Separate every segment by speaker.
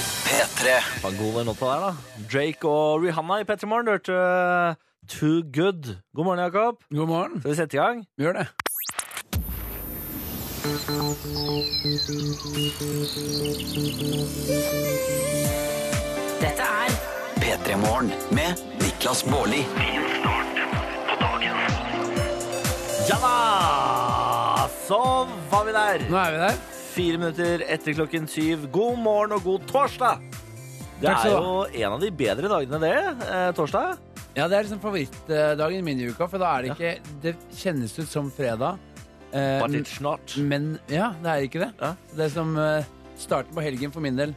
Speaker 1: P3.
Speaker 2: Det var god den låta der, da. Drake og Rihanna i Petter Morgen hørte uh, Too Good. God morgen, Jakob.
Speaker 3: God morgen.
Speaker 2: Skal vi sette i gang?
Speaker 3: Vi gjør det.
Speaker 4: Dette er
Speaker 1: P3 Morgen med Niklas Baarli.
Speaker 2: Ja da! Så var vi der.
Speaker 3: Nå er vi der.
Speaker 2: Fire minutter etter klokken syv. God morgen og god torsdag! Det
Speaker 3: Takk
Speaker 2: er
Speaker 3: skal du
Speaker 2: jo en av de bedre dagene, det. Eh, torsdag.
Speaker 3: Ja, det er liksom favorittdagen min i uka, for da er det ikke Det kjennes ut som fredag. eh,
Speaker 2: But it's not.
Speaker 3: men ja, det er ikke det.
Speaker 2: Ja.
Speaker 3: Det er som eh, starten på helgen for min del.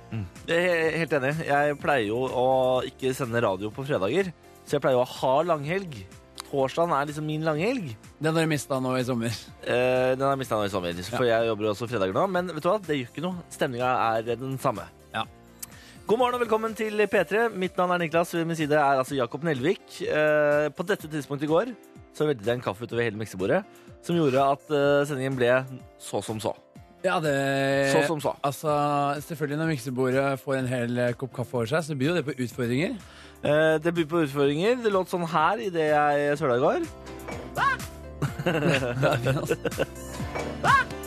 Speaker 2: Jeg er helt enig. Jeg pleier jo å ikke sende radio på fredager, så jeg pleier jo å ha langhelg. Torsdagen er liksom min langhelg.
Speaker 3: Den har jeg mista nå i sommer.
Speaker 2: Eh, den har mista nå i sommer, for jeg jobber jo også fredager nå. Men vet du hva, det gjør ikke noe. Stemninga er eh, den samme.
Speaker 3: Ja.
Speaker 2: God morgen og velkommen til P3. Mitt navn er Niklas. Ved min side er altså Jakob Nelvik. Eh, på dette tidspunktet i går så veltet jeg en kaffe utover hele miksebordet, som gjorde at eh, sendingen ble så som så.
Speaker 3: Ja, det
Speaker 2: Så som så.
Speaker 3: Altså, Selvfølgelig, når miksebordet får en hel eh, kopp kaffe over seg, så byr jo det på utfordringer.
Speaker 2: Eh, det byr på utfordringer. Det låt sånn her idet jeg søla i går.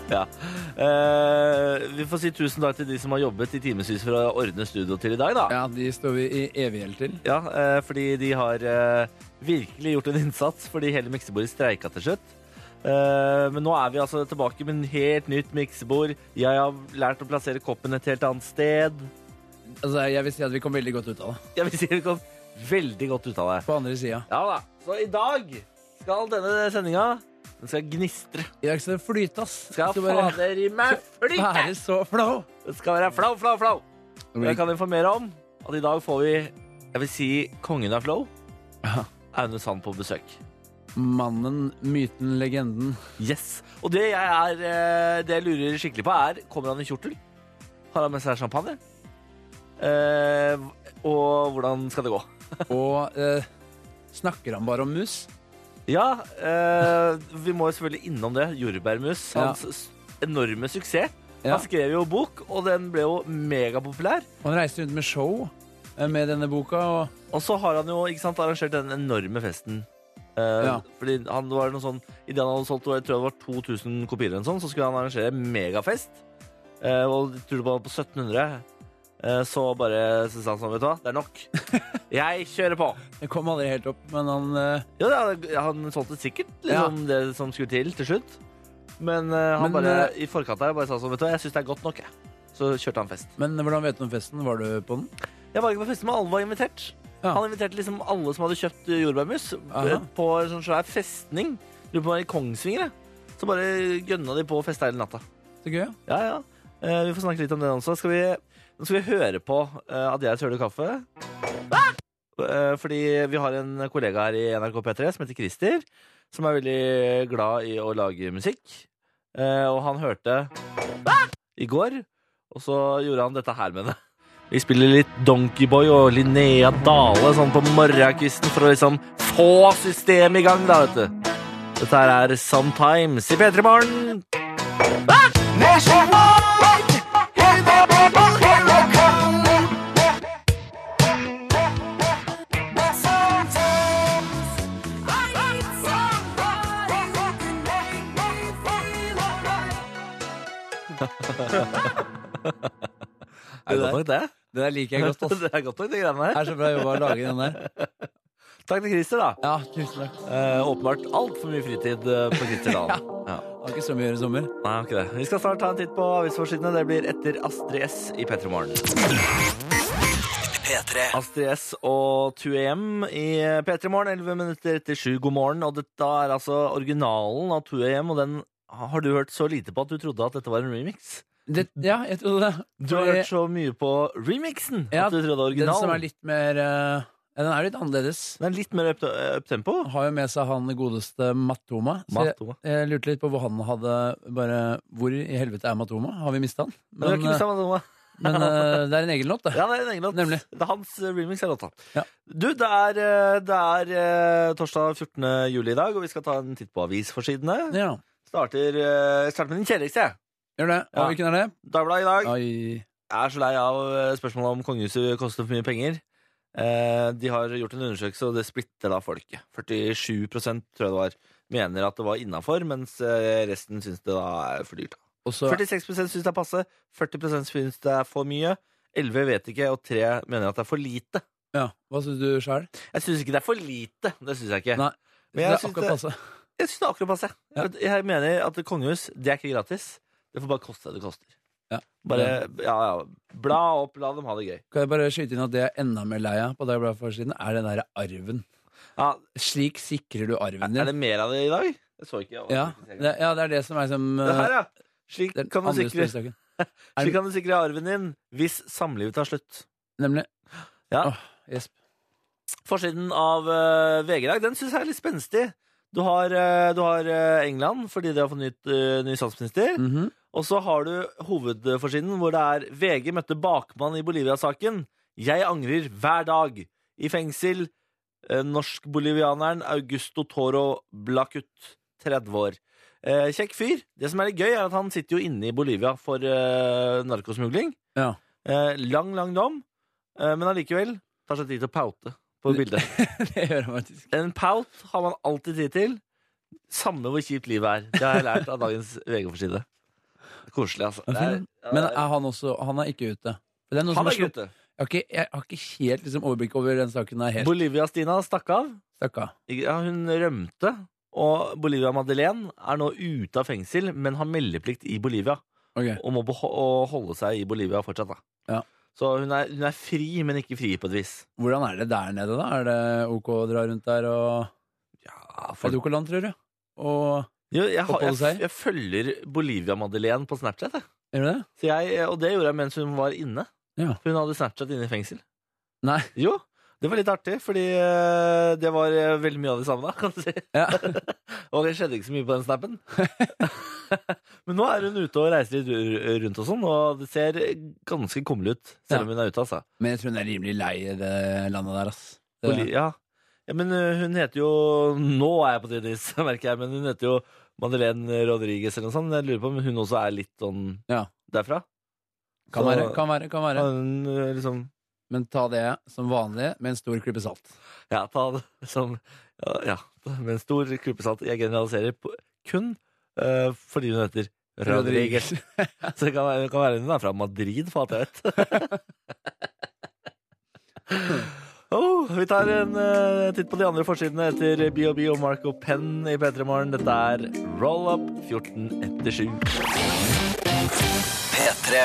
Speaker 2: Ja. Eh, vi får si tusen takk til de som har jobbet i timevis for å ordne studio til i dag, da.
Speaker 3: Ja, De står vi i evig gjeld til.
Speaker 2: Ja, eh, fordi de har eh, virkelig gjort en innsats fordi hele miksebordet streika til slutt. Eh, men nå er vi altså tilbake med en helt nytt miksebord. Jeg har lært å plassere koppen et helt annet sted.
Speaker 3: Altså, Jeg vil si at vi kom veldig godt ut av det.
Speaker 2: Jeg vil si det kom veldig godt ut av det.
Speaker 3: På andre sida.
Speaker 2: Ja da, Så i dag skal denne sendinga den skal gnistre.
Speaker 3: I dag skal det flyte, ass.
Speaker 2: Skal
Speaker 3: Det bare
Speaker 2: fader i meg flyte!
Speaker 3: være så flau.
Speaker 2: Den skal være flau, flau, flau. Og jeg kan informere om at i dag får vi, jeg vil si, kongen av flow,
Speaker 3: Ja.
Speaker 2: Aune Sand, på besøk.
Speaker 3: Mannen, myten, legenden.
Speaker 2: Yes. Og det jeg, er, eh, det jeg lurer skikkelig på, er Kommer han i kjortel? Har han med seg champagne? Eh, og hvordan skal det gå?
Speaker 3: Og eh, snakker han bare om mus?
Speaker 2: Ja, eh, vi må jo selvfølgelig innom det. Jordbærmus.
Speaker 3: Ja.
Speaker 2: Hans s- enorme suksess.
Speaker 3: Ja.
Speaker 2: Han skrev jo bok, og den ble jo megapopulær.
Speaker 3: Han reiser rundt med show eh, med denne boka. Og,
Speaker 2: Og så har han jo ikke sant, arrangert den enorme festen. Eh,
Speaker 3: Ja.
Speaker 2: Fordi han det var noe sånn Idet han hadde solgt jeg tror det var 2000 kopier, eller noe sånt, så skulle han arrangere megafest. Eh, og jeg tror det var på 1700. Eh, så bare syntes han sånn, vet du hva, det er nok. Jeg kjører på.
Speaker 3: det kom aldri helt opp, men han eh,
Speaker 2: Jo, ja, han solgte sikkert liksom, det som skulle til, til slutt. Men eh, han
Speaker 3: Men,
Speaker 2: bare i forkant der bare sa sånn, vet du hva, jeg syns det er godt nok, jeg. Så kjørte han fest.
Speaker 3: Men hvordan vet du om festen? Var du på den?
Speaker 2: Jeg var ikke på festen, men alle var invitert.
Speaker 3: Ja.
Speaker 2: Han inviterte liksom alle som hadde kjøpt eh, jordbærmus,
Speaker 3: Aha.
Speaker 2: eh, på en sånn svær festning. Lurer på om det var i Kongsvinger, jeg. Så bare gønna de på å feste hele natta.
Speaker 3: Så gøy. ja.
Speaker 2: Ja, ja. Eh, vi får snakke litt om det også. Skal vi, nå skal vi høre på eh, at jeg søler kaffe.
Speaker 3: Ah!
Speaker 2: Eh, fordi vi har en kollega her i NRK P3 som heter Christer, som er veldig glad i å lage musikk. Eh, og han hørte
Speaker 3: Ah!
Speaker 2: i går, og så gjorde han dette her med det. Vi spiller litt Donkeyboy og Linnea Dale sånn på morgenkvisten for å liksom få systemet i gang, da, vet du. Dette her er Sometimes i P3 Morgen.
Speaker 3: Er det godt
Speaker 2: nok, det?
Speaker 3: Det der liker jeg godt. ass.
Speaker 2: det er godt nok, de greiene
Speaker 3: Det
Speaker 2: her.
Speaker 3: er så bra jobba å lage den der.
Speaker 2: Takk til Christer, da.
Speaker 3: Ja, tusen takk.
Speaker 2: Eh, åpenbart altfor mye fritid eh, på Christer Dalen. Ja.
Speaker 3: Har ikke så mye å gjøre i sommer.
Speaker 2: Nei, han har ikke det. Vi skal snart ta en titt på avisforsidene. Det blir etter Astrid S i P3 Morgen.
Speaker 1: P3.
Speaker 2: Astrid S og 2AM i P3 Morgen, 11 minutter etter 7. God morgen. Og dette er altså originalen av 2AM, og den har du hørt så lite på at du trodde at dette var en remix.
Speaker 3: Det, ja, jeg trodde det.
Speaker 2: Du har
Speaker 3: Fordi
Speaker 2: hørt så mye på remixen
Speaker 3: Ja,
Speaker 2: at du trodde
Speaker 3: den som er
Speaker 2: originalen.
Speaker 3: litt mer eh, ja, Den er litt annerledes.
Speaker 2: Den er litt mer up- uptempo.
Speaker 3: Har jo med seg han godeste Matoma. Så jeg,
Speaker 2: Matoma.
Speaker 3: jeg lurte litt på hvor han hadde bare Hvor i helvete er Matoma? Har vi mista han?
Speaker 2: Men, det er
Speaker 3: Men,
Speaker 2: ikke
Speaker 3: eh,
Speaker 2: liksom, altså,
Speaker 3: men eh, det er en egen låt, det.
Speaker 2: Ja, det er en egen låt.
Speaker 3: Nemlig.
Speaker 2: Det er hans eh, remix av låta.
Speaker 3: Ja.
Speaker 2: Du, det er, eh, det er eh, torsdag 14. juli i dag, og vi skal ta en titt på avisforsidene.
Speaker 3: Ja,
Speaker 2: Starter, eh, jeg starter med den kjedeligste. jeg.
Speaker 3: gjør det. Og
Speaker 2: Ja.
Speaker 3: hvilken er det?
Speaker 2: Dagbladet i dag.
Speaker 3: Ai.
Speaker 2: er så lei av eh, spørsmålet om kongehuset koster for mye penger. Eh, De har gjort en undersøkelse, og det splitter da folket. 47 tror jeg det var, mener at det var innafor, mens eh, resten syns det da er for dyrt.
Speaker 3: Og så
Speaker 2: 46 syns det er passe, 40 syns det er for mye, 11 vet ikke, og 3 mener at det er for lite.
Speaker 3: Ja, hva syns du sjøl?
Speaker 2: Jeg syns ikke det er for lite. Det syns jeg ikke.
Speaker 3: Nei.
Speaker 2: Men
Speaker 3: Det
Speaker 2: jeg
Speaker 3: er
Speaker 2: synes
Speaker 3: akkurat
Speaker 2: det-
Speaker 3: passe.
Speaker 2: Jeg syns det er akkurat passe.
Speaker 3: Ja.
Speaker 2: Jeg- Jeg mener at kongehus, det er ikke gratis. Det får bare koste det det koster.
Speaker 3: Ja.
Speaker 2: Bare ja, ja, bla opp, la dem ha det gøy.
Speaker 3: Kan jeg bare skyte inn at det jeg er enda mer lei av på Dagbladet-forsiden, er den derre arven.
Speaker 2: Ja,
Speaker 3: Slik sikrer du arven din.
Speaker 2: er det mer av det i dag? Jeg så ikke.
Speaker 3: Ja, det, ja, det er det som er som
Speaker 2: det her,
Speaker 3: eh,
Speaker 2: ja. Slik
Speaker 3: den
Speaker 2: kan, du
Speaker 3: andre
Speaker 2: sikre,
Speaker 3: spørsmålssaken.
Speaker 2: slik kan du sikre arven din hvis samlivet tar slutt.
Speaker 3: Nemlig.
Speaker 2: Ja.
Speaker 3: Åh, Jesp.
Speaker 2: Forsiden av eh, VG i dag, den syns jeg er litt spenstig. Du har, eh, du har eh, England fordi de har fått nytt, eh, ny statsminister.
Speaker 3: Mhm.
Speaker 2: Og så har du hovedforsiden hvor det er VG møtte bakmann i Bolivia-saken. Jeg angrer hver dag. I fengsel. eh, Norsk-bolivianeren Augusto Toro Blacut, 30 år. Eh, kjekk fyr. Det som er litt gøy, er at han sitter jo inne i Bolivia for eh, narkosmugling.
Speaker 3: Ja.
Speaker 2: Eh, lang, lang dom. Eh, men allikevel tar seg tid til å paute på bildet.
Speaker 3: det gjør jeg faktisk.
Speaker 2: En pout har man alltid tid til. Samme hvor kjipt livet er. Det har jeg lært av dagens VG-forside. Koselig, altså. Det er,
Speaker 3: Men er han også Han er ikke ute. Det er noe som
Speaker 2: han
Speaker 3: har
Speaker 2: er
Speaker 3: slått-
Speaker 2: gutte.
Speaker 3: Jeg har ikke, jeg har ikke helt liksom, overblikk over den saken der helt.
Speaker 2: Bolivia-Stina stakk av.
Speaker 3: Stakka.
Speaker 2: Ja, hun rømte. Og Bolivia-Madeleine er nå ute av fengsel, men har meldeplikt i Bolivia.
Speaker 3: Ok.
Speaker 2: Og må beho- og holde seg i Bolivia fortsatt, da.
Speaker 3: Ja.
Speaker 2: Så hun er, hun er fri, men ikke fri på et vis.
Speaker 3: Hvordan er det der nede, da? Er det OK å dra rundt der og
Speaker 2: Ja,
Speaker 3: Er det OK land, tror du? Og
Speaker 2: Jo, jeg, har-
Speaker 3: Oppholde
Speaker 2: jeg,
Speaker 3: seg?
Speaker 2: jeg følger Bolivia-Madeleine på Snapchat, jeg.
Speaker 3: Gjør du det?
Speaker 2: Så jeg, eh, og det gjorde jeg mens hun var inne.
Speaker 3: Ja.
Speaker 2: For hun hadde Snapchat inne i fengsel.
Speaker 3: Nei.
Speaker 2: Jo, det var litt artig, fordi eh, det var eh, veldig mye av det samme, da, kan du si.
Speaker 3: Ja.
Speaker 2: Og det skjedde ikke så mye på den snappen. Men nå er hun ute og reiser litt ru- rundt og sånn, og det ser ganske kommelig ut,
Speaker 3: Ja.
Speaker 2: selv om hun er ute, altså.
Speaker 3: Men jeg tror hun er rimelig lei i det landet der, ass. Det-
Speaker 2: Poli- Ja. ja, men eh, hun heter jo Nå er jeg på tynn is, merker jeg, men hun heter jo Madeleine Rodriguez eller noe sånt. Jeg lurer på om hun også er litt sånn
Speaker 3: Ja.
Speaker 2: derfra.
Speaker 3: Kan
Speaker 2: Så-
Speaker 3: være, kan være, kan være.
Speaker 2: Hun, eh, liksom
Speaker 3: Men ta det som vanlig med en stor klype salt.
Speaker 2: Ja, ta det som Ja, ja med en stor klype salt. Jeg generaliserer på, kun eh, fordi hun heter Rodriguez. Så det kan, være- det kan være hun er fra Madrid, for alt jeg vet. Oh, vi tar en eh, titt på de andre forsidene etter BOB og Marco Penn i P3 Morgen. Dette er Roll Up 14 etter 7.
Speaker 1: P3.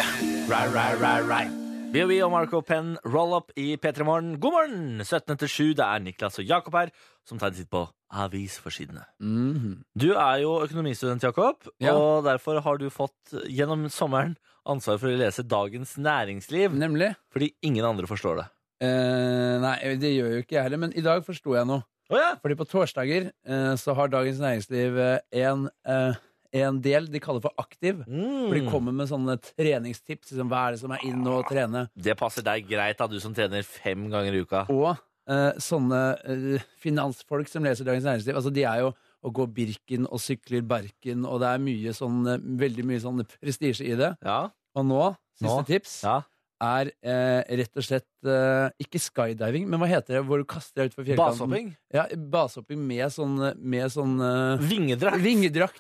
Speaker 2: Right, right, right, right. BOB og Marco Penn, roll up i P3 Morgen. God morgen! 17 etter 7, det er Niklas og Jakob her, som tar en titt på avisforsidene.
Speaker 3: Mhm.
Speaker 2: Du er jo økonomistudent, Jakob,
Speaker 3: Ja.
Speaker 2: og derfor har du fått gjennom sommeren ansvar for å lese Dagens Næringsliv,
Speaker 3: Nemlig.
Speaker 2: fordi ingen andre forstår det.
Speaker 3: Eh, nei, det gjør jo ikke jeg heller, men i dag forsto jeg noe.
Speaker 2: Å ja!
Speaker 3: Fordi på torsdager eh, så har Dagens Næringsliv eh, en, eh, en del de kaller for aktiv. For de
Speaker 2: Mm.
Speaker 3: kommer med sånne treningstips. Liksom, hva er det som er inn og trene?
Speaker 2: Det passer deg greit, da, du som trener fem ganger i uka.
Speaker 3: Og eh, sånne eh, finansfolk som leser Dagens Næringsliv, altså de er jo å gå Birken og sykler Berken, og det er mye sånn, eh, veldig mye sånn prestisje i det.
Speaker 2: Ja.
Speaker 3: Og nå, siste
Speaker 2: Nå?
Speaker 3: tips,
Speaker 2: ja.
Speaker 3: er eh, rett og slett eh, ikke skydiving, men hva heter det hvor du kaster deg utfor fjellkanten?
Speaker 2: Basehopping.
Speaker 3: Ja, basehopping med sånn, med sånn eh,
Speaker 2: Vingedrakt.
Speaker 3: vingedrakt.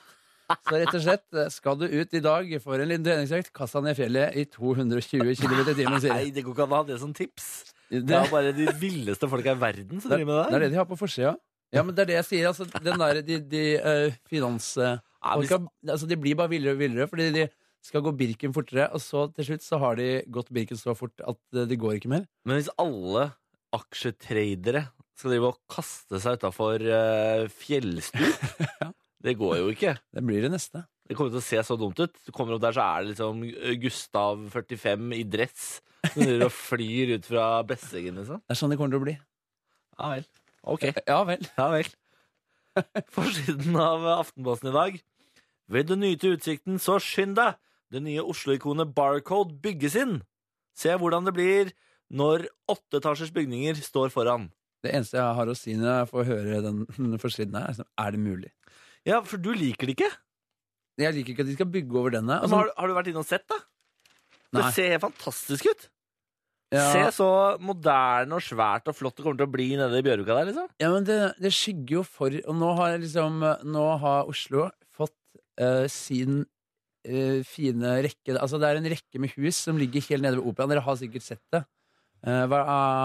Speaker 3: Så rett og slett, eh, skal du ut i dag for en liten treningsøkt, kast deg ned fjellet i 220 km i timen, sier
Speaker 2: Nei,
Speaker 3: de.
Speaker 2: det går ikke an å ha det som tips. Det
Speaker 3: Det,
Speaker 2: er bare de villeste folka i verden som
Speaker 3: det,
Speaker 2: driver med det.
Speaker 3: det er det de har på forsida. Ja, men det er det jeg sier. Altså, den der, de de eh, finans... eh,
Speaker 2: Ja, hvis-
Speaker 3: folka, altså, de blir bare villere og villere, fordi de skal gå Birken fortere, og så til slutt så har de gått Birken så fort at eh, det går ikke mer.
Speaker 2: Men hvis alle aksjetradere skal drive og kaste seg utafor fjellstup Det går jo ikke.
Speaker 3: Det blir det neste.
Speaker 2: Det kommer til å se så dumt ut. Du kommer opp der, så er det liksom Gustav 45 i dress som driver og flyr ut fra Besseggen, liksom.
Speaker 3: Det er sånn det kommer til å bli. Eh,
Speaker 2: Ja vel. Ok.
Speaker 3: Ja vel.
Speaker 2: Ja vel. Forsiden av Aftenposten i dag. Ved den nyte utsikten, så skynd deg! Det nye Oslo-ikonet Barcode bygges inn. Se hvordan det blir når åtteetasjers bygninger står foran.
Speaker 3: Det eneste jeg har å si når jeg får høre den, den forsiden her, er sånn, er det mulig?
Speaker 2: Ja, for du liker det ikke?
Speaker 3: Jeg liker ikke at de skal bygge over denne.
Speaker 2: Men
Speaker 3: Altså,
Speaker 2: har, du- har du vært inne og sett, da? Det
Speaker 3: Nei.
Speaker 2: ser helt fantastisk ut. Se
Speaker 3: Altså, Ja,
Speaker 2: så moderne og svært og flott det kommer til å bli nede i Bjørvika der, liksom.
Speaker 3: ja men det, det skygger jo for Og nå har liksom Nå har Oslo fått eh, sin eh, fine rekke Altså det er en rekke med hus som ligger helt nede ved operaen. Dere har sikkert sett det. Eh, hva,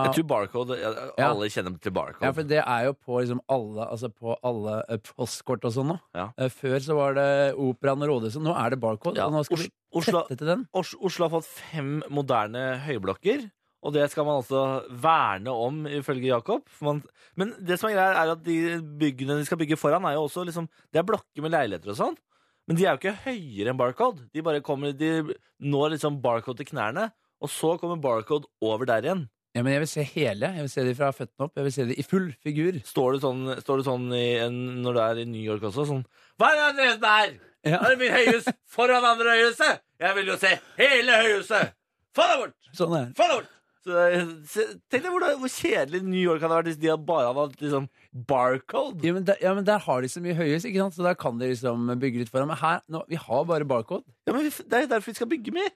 Speaker 2: Jeg tror Barcode ja,
Speaker 3: Ja.
Speaker 2: Alle kjenner til Barcode.
Speaker 3: Ja, for det er jo på liksom alle, altså på alle eh, postkort og sånn nå.
Speaker 2: Ja.
Speaker 3: Eh, Før så var det Operaen og Rådhuset, nå er det Barcode.
Speaker 2: Ja,
Speaker 3: Og nå skal vi
Speaker 2: Os- Oslo,
Speaker 3: tette til den.
Speaker 2: Os- Oslo har fått fem moderne høyblokker, og det skal man altså verne om, ifølge Jakob. For Man, men det som er greia, er at de byggene de skal bygge foran, er jo også liksom Det er blokker med leiligheter og sånn, men de er jo ikke høyere enn Barcode. De bare kommer De når liksom Barcode til knærne, og så kommer Barcode over der igjen.
Speaker 3: Ja, men jeg vil se hele. Jeg vil se de fra føttene opp. Jeg vil se de i full figur.
Speaker 2: Står du sånn, står du sånn i en, når du er i New York også, sånn Hva er det andre huset her?
Speaker 3: Ja.
Speaker 2: Er det mitt høyhus foran andre høyhuset? Jeg vil jo se hele høyhuset! Få deg bort!
Speaker 3: Sånn er det.
Speaker 2: Få deg bort! Så det er- se- Tenk deg hvor, det- hvor kjedelig New York hadde vært hvis de hadde bare hadde hatt liksom barcode.
Speaker 3: Ja men, der, ja, men der har de så mye høyhus, ikke sant? så der kan de liksom bygge litt foran. Men her, nå, vi har bare Barcode.
Speaker 2: Ja, men vi f- Det er jo derfor vi skal bygge mer.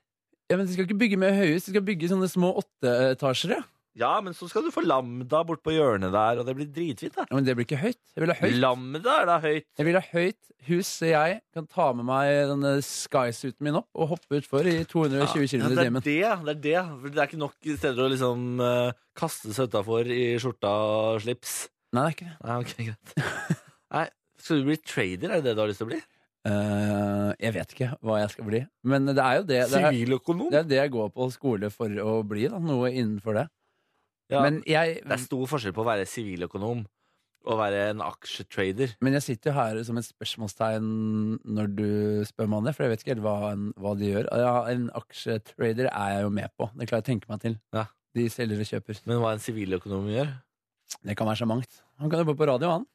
Speaker 3: Ja, men De skal ikke bygge mer høyhus, de skal bygge sånne små åtteetasjere.
Speaker 2: Ja, men så skal du få Lambda bort på hjørnet der, og det blir dritfint. da
Speaker 3: Ja, men det blir ikke høyt. Jeg vil ha høyt.
Speaker 2: Lambda er da høyt.
Speaker 3: Jeg vil ha høyt hus, så jeg kan ta med meg denne skysuiten min opp og hoppe utfor i 220
Speaker 2: Ja,
Speaker 3: km i
Speaker 2: det er
Speaker 3: timen.
Speaker 2: det. Det er det. For det er ikke nok steder å liksom eh, kaste seg utafor i skjorta og slips.
Speaker 3: Nei, det er ikke det.
Speaker 2: Nei, ok, greit. Nei, skal du bli trader? Er det det du har lyst til å bli?
Speaker 3: Eh, jeg vet ikke hva jeg skal bli. Men det er jo det det er,
Speaker 2: Siviløkonom?
Speaker 3: det er det jeg går på skole for å bli. da, Noe innenfor det.
Speaker 2: Ja.
Speaker 3: Men, jeg,
Speaker 2: Det er stor forskjell på å være siviløkonom og være en aksjetrader.
Speaker 3: men jeg sitter jo her som et spørsmålstegn når du spør meg om det, for jeg vet ikke helt hva, en, hva de gjør. Ja, en aksjetrader er jeg jo med på. Det klarer jeg å tenke meg til.
Speaker 2: Ja.
Speaker 3: De selger og kjøper.
Speaker 2: Men hva en siviløkonom gjør?
Speaker 3: Det kan være så mangt. Han kan jobbe på radio, han.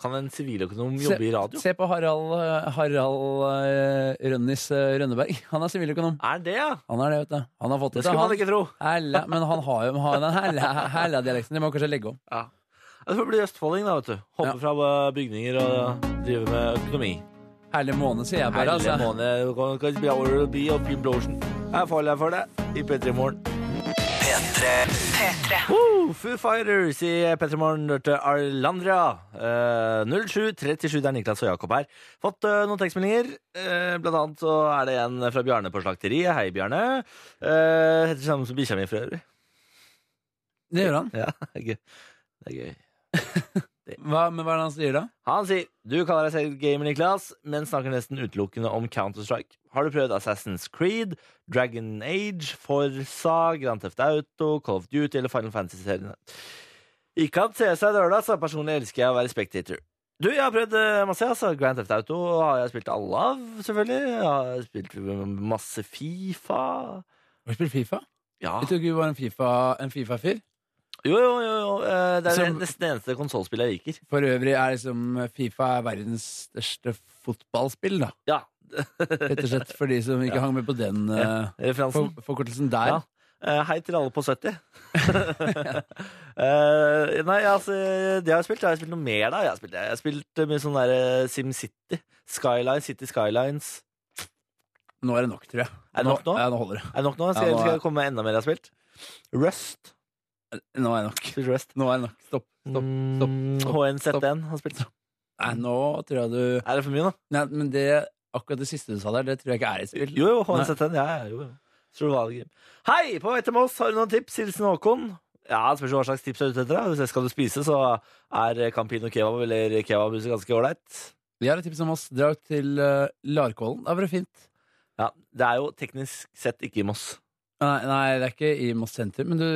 Speaker 2: Kan en siviløkonom jobbe i radio?
Speaker 3: Se på Harald, eh, Harald eh, Rønnis eh, Rønneberg. Han er siviløkonom.
Speaker 2: Er det, ja?
Speaker 3: Han er det, vet du. Han har fått
Speaker 2: Det
Speaker 3: det til.
Speaker 2: skulle man
Speaker 3: Han,
Speaker 2: ikke tro.
Speaker 3: Hæla, men han har jo har den hæla- hæla-dialekten. Det må jeg kanskje legge om.
Speaker 2: Ja. Det får bli østfolding, da. vet du Hoppe
Speaker 3: Ja.
Speaker 2: fra eh, bygninger og drive med økonomi.
Speaker 3: Herlig måned, sier jeg bare.
Speaker 2: Herlig
Speaker 3: Altså.
Speaker 2: måned. Kan- kan bli over og bli og Pim Blåsen. Jeg faller for det i P3 Morgen.
Speaker 1: P3.
Speaker 2: Woo! Foo Fighters i P3 Morgen hørte Arlandria. Eh, 07.37, det er Niklas og Jakob her. Fått eh, noen tekstmeldinger. Eh, blant annet så er det en fra Bjarne på Slakteriet. Hei, Bjarne. Eh, heter det samme som bikkja mi for øvrig.
Speaker 3: Det gjør han.
Speaker 2: Ja, det er gøy. Det er gøy.
Speaker 3: Hva, men hva er det han sier da?
Speaker 2: Han sier du kaller deg selv gamer, Niklas, men snakker nesten utelukkende om Counter-Strike. Har du prøvd Assassin's Creed, Dragon Age, Forsa, Grand Theft Auto, Call of Duty eller Final Fantasy-seriene? Ikke at CS er døla, så personlig elsker jeg å være spectator. Du, jeg har prøvd eh, masse. altså Grand Theft Auto har jeg spilt alle av, selvfølgelig. Jeg har spilt masse Fifa.
Speaker 3: Har du spilt Fifa?
Speaker 2: Ja.
Speaker 3: Jeg tror ikke du var en Fifa- en Fifa-fyr.
Speaker 2: Jo, jo, jo. jo. eh, Det er
Speaker 3: Som-
Speaker 2: nesten det eneste konsollspillet jeg liker.
Speaker 3: For øvrig er liksom Fifa er verdens største fotballspill, da.
Speaker 2: Ja.
Speaker 3: Rett og slett for de som ikke hang med på den eh,
Speaker 2: Referansen.
Speaker 3: for- forkortelsen der.
Speaker 2: Ja. Eh, hei til alle på 70. Eh, nei, altså, det har jeg spilt. Jeg har spilt noe mer, da. Jeg har spilt, jeg har spilt mye sånn der eh, SimCity. Skyline, City Skylines.
Speaker 3: Nå er det nok, tror jeg.
Speaker 2: Er det nok nå?
Speaker 3: Ja, nå holder det.
Speaker 2: Er det nok nå? Skal,
Speaker 3: Ja, nå
Speaker 2: jeg-
Speaker 3: er-
Speaker 2: skal jeg komme med enda mer jeg har spilt? Rust.
Speaker 3: Nå er det nok.
Speaker 2: Spilt Rust.
Speaker 3: Nå er det nok. Stopp. Stopp. stopp,
Speaker 2: Mm,
Speaker 3: stopp,
Speaker 2: HNZN har spilt.
Speaker 3: Nei, nå tror jeg du
Speaker 2: Er det for mye, da?
Speaker 3: Nei, men det akkurat det siste du sa der, det tror jeg ikke er et spill.
Speaker 2: Jo, jo, HNZN. Ja, ja, jo, jo. Survival-grim. Hei, på vei til Moss, har du noen tips? Hilsen Håkon. Ja, det spørs hva slags tips du er ute etter. da. Hvis jeg skal du spise, så er eh, Campino kebab eller kebabhuset ganske ålreit.
Speaker 3: Vi har et tips om oss. Dra ut til eh, Larkollen. Da var det fint.
Speaker 2: Ja, Det er jo teknisk sett ikke i Moss.
Speaker 3: Nei, nei, det er ikke i Moss senter, men du,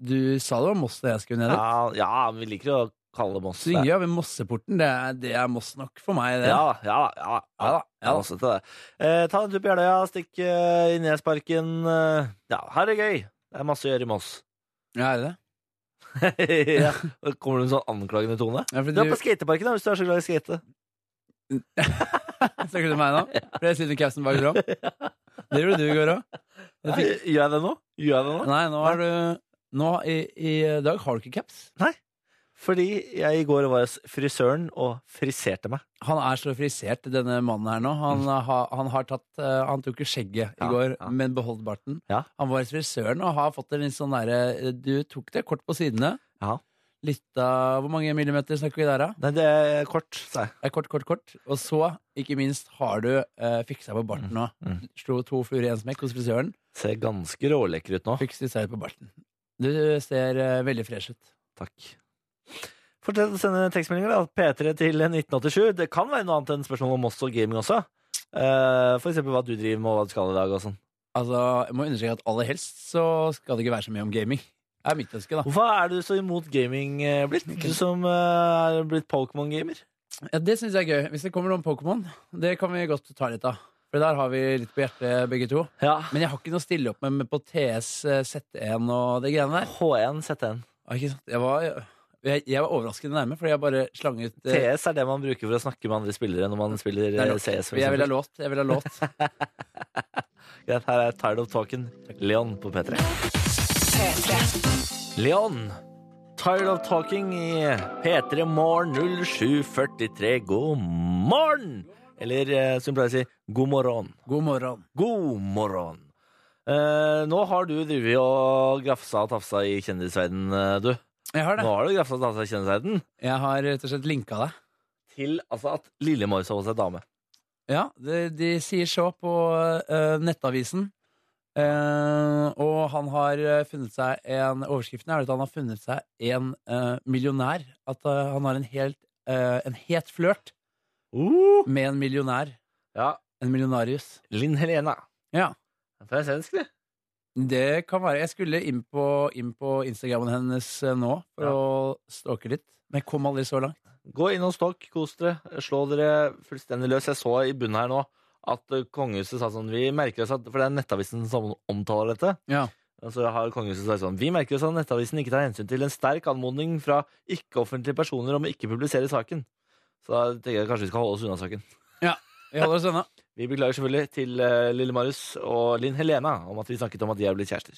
Speaker 3: du sa det var Moss da jeg skulle ned dit.
Speaker 2: Ja, ja, men vi liker å kalle det Moss.
Speaker 3: Så ringer jeg ved Mosseporten. Det er, det er Moss nok for meg, det.
Speaker 2: Ja, ja, ja.
Speaker 3: Ja da, ja da.
Speaker 2: Moss til det. Eh, ta en tur på Jeløya, stikk eh, i Nesparken. Eh, ja, her er det gøy. Det er masse å gjøre i Moss.
Speaker 3: Ja, er det det?
Speaker 2: ja. og Kommer du med sånn anklagende tone?
Speaker 3: Ja, for
Speaker 2: Dra
Speaker 3: du,
Speaker 2: på skateparken da, hvis du er så glad i å skate.
Speaker 3: snakker du til meg nå? For jeg sitter i capsen bak fram. Det gjorde du i går òg.
Speaker 2: Eh, Gjør jeg det nå? Gjør jeg det nå?
Speaker 3: Nei, nå er du nå, i, I dag har du ikke caps.
Speaker 2: Fordi jeg i går var hos frisøren og friserte meg.
Speaker 3: Han er så frisert, denne mannen her nå. Han, har- han, har tatt, eh, han tok jo skjegget
Speaker 2: Mm.
Speaker 3: i
Speaker 2: Ja,
Speaker 3: går,
Speaker 2: ja.
Speaker 3: men beholdt barten.
Speaker 2: Ja.
Speaker 3: Han var hos frisøren og har fått en litt sånn derre Du tok det kort på sidene.
Speaker 2: Ja.
Speaker 3: Litt av Hvor mange millimeter snakker vi der, da?
Speaker 2: Nei, det er kort, sa jeg.
Speaker 3: Det er Kort, kort, kort. Og så, ikke minst, har du eh, fiksa på barten nå.
Speaker 2: Mm,
Speaker 3: Slo to fluer i én smekk hos frisøren.
Speaker 2: Ser ganske rålekker ut nå.
Speaker 3: Fikk stysser på barten. Du ser eh, veldig fresh ut.
Speaker 2: Takk. Fortsett å sende tekstmeldinger, da. P3 til 1987. Det kan være noe annet enn spørsmål om oss og gaming også. Eh, for eksempel hva du driver med, og hva du skal i dag og sånn.
Speaker 3: Altså, jeg må understreke at aller helst så skal det ikke være så mye om gaming. Det er mitt ønske, da.
Speaker 2: Hvorfor er du så imot gaming eh, blitt? Du som eh, er blitt Pokémon-gamer.
Speaker 3: Ja, det syns jeg er gøy. Hvis det kommer noen Pokémon, det kan vi godt ta litt av. For der har vi litt på hjertet, begge to.
Speaker 2: Ja.
Speaker 3: Men jeg har ikke noe å stille opp med, med på TS, eh, Z1 og de greiene der.
Speaker 2: H1, Z1.
Speaker 3: Ah, Ikke sant? Jeg var, jeg, jeg var overraskende nærme, fordi jeg bare slang ut eh,
Speaker 2: TS er det man bruker for å snakke med andre spillere når man spiller
Speaker 3: Det er
Speaker 2: eh,
Speaker 3: lov.
Speaker 2: CS. for
Speaker 3: Jeg vil ha
Speaker 2: eksempel.
Speaker 3: låt. Jeg vil ha låt.
Speaker 2: Greit, her er Tired of Talking. Leon på P3. Leon. Tired of Talking i P3 Morgen 0743. God morgen! Eller eh, som vi pleier å si, god morgen.
Speaker 3: God morgen.
Speaker 2: God morgen. Eh, nå har du drevet og grafsa og tafsa i kjendisverden, eh, du.
Speaker 3: Jeg har
Speaker 2: Nå
Speaker 3: det.
Speaker 2: har du grafsa og tafsa i kjendisverden.
Speaker 3: Jeg har rett og slett linka deg.
Speaker 2: Til altså, at Lille Morris har fått seg dame.
Speaker 3: Ja, de, de sier så på eh, Nettavisen. Eh, og han har eh, funnet seg en Overskriften er at han har funnet seg en eh, millionær. At eh, han har en helt eh, En het flørt med en millionær.
Speaker 2: Ja,
Speaker 3: En millionarius.
Speaker 2: Linn Helena.
Speaker 3: Ja.
Speaker 2: Fra svensk, det.
Speaker 3: Det kan være. Jeg skulle inn på, inn på Instagrammen hennes eh, nå for
Speaker 2: Ja.
Speaker 3: å stalke litt. Men jeg kom aldri så langt.
Speaker 2: Gå innom Stokk, kos dere. Slå dere fullstendig løs. Jeg så i bunnen her nå at eh, kongehuset sa sånn Vi merker oss at For det er Nettavisen som omtaler dette.
Speaker 3: Ja.
Speaker 2: Og så har kongehuset sagt sånn Vi merker oss at Nettavisen ikke tar hensyn til en sterk anmodning fra ikke-offentlige personer om å ikke publisere saken. Så da tenker jeg kanskje vi skal holde oss unna saken.
Speaker 3: Vi holder oss unna.
Speaker 2: Vi beklager selvfølgelig til eh, Lille Marius og Linn Helena om at vi snakket om at de er blitt kjærester.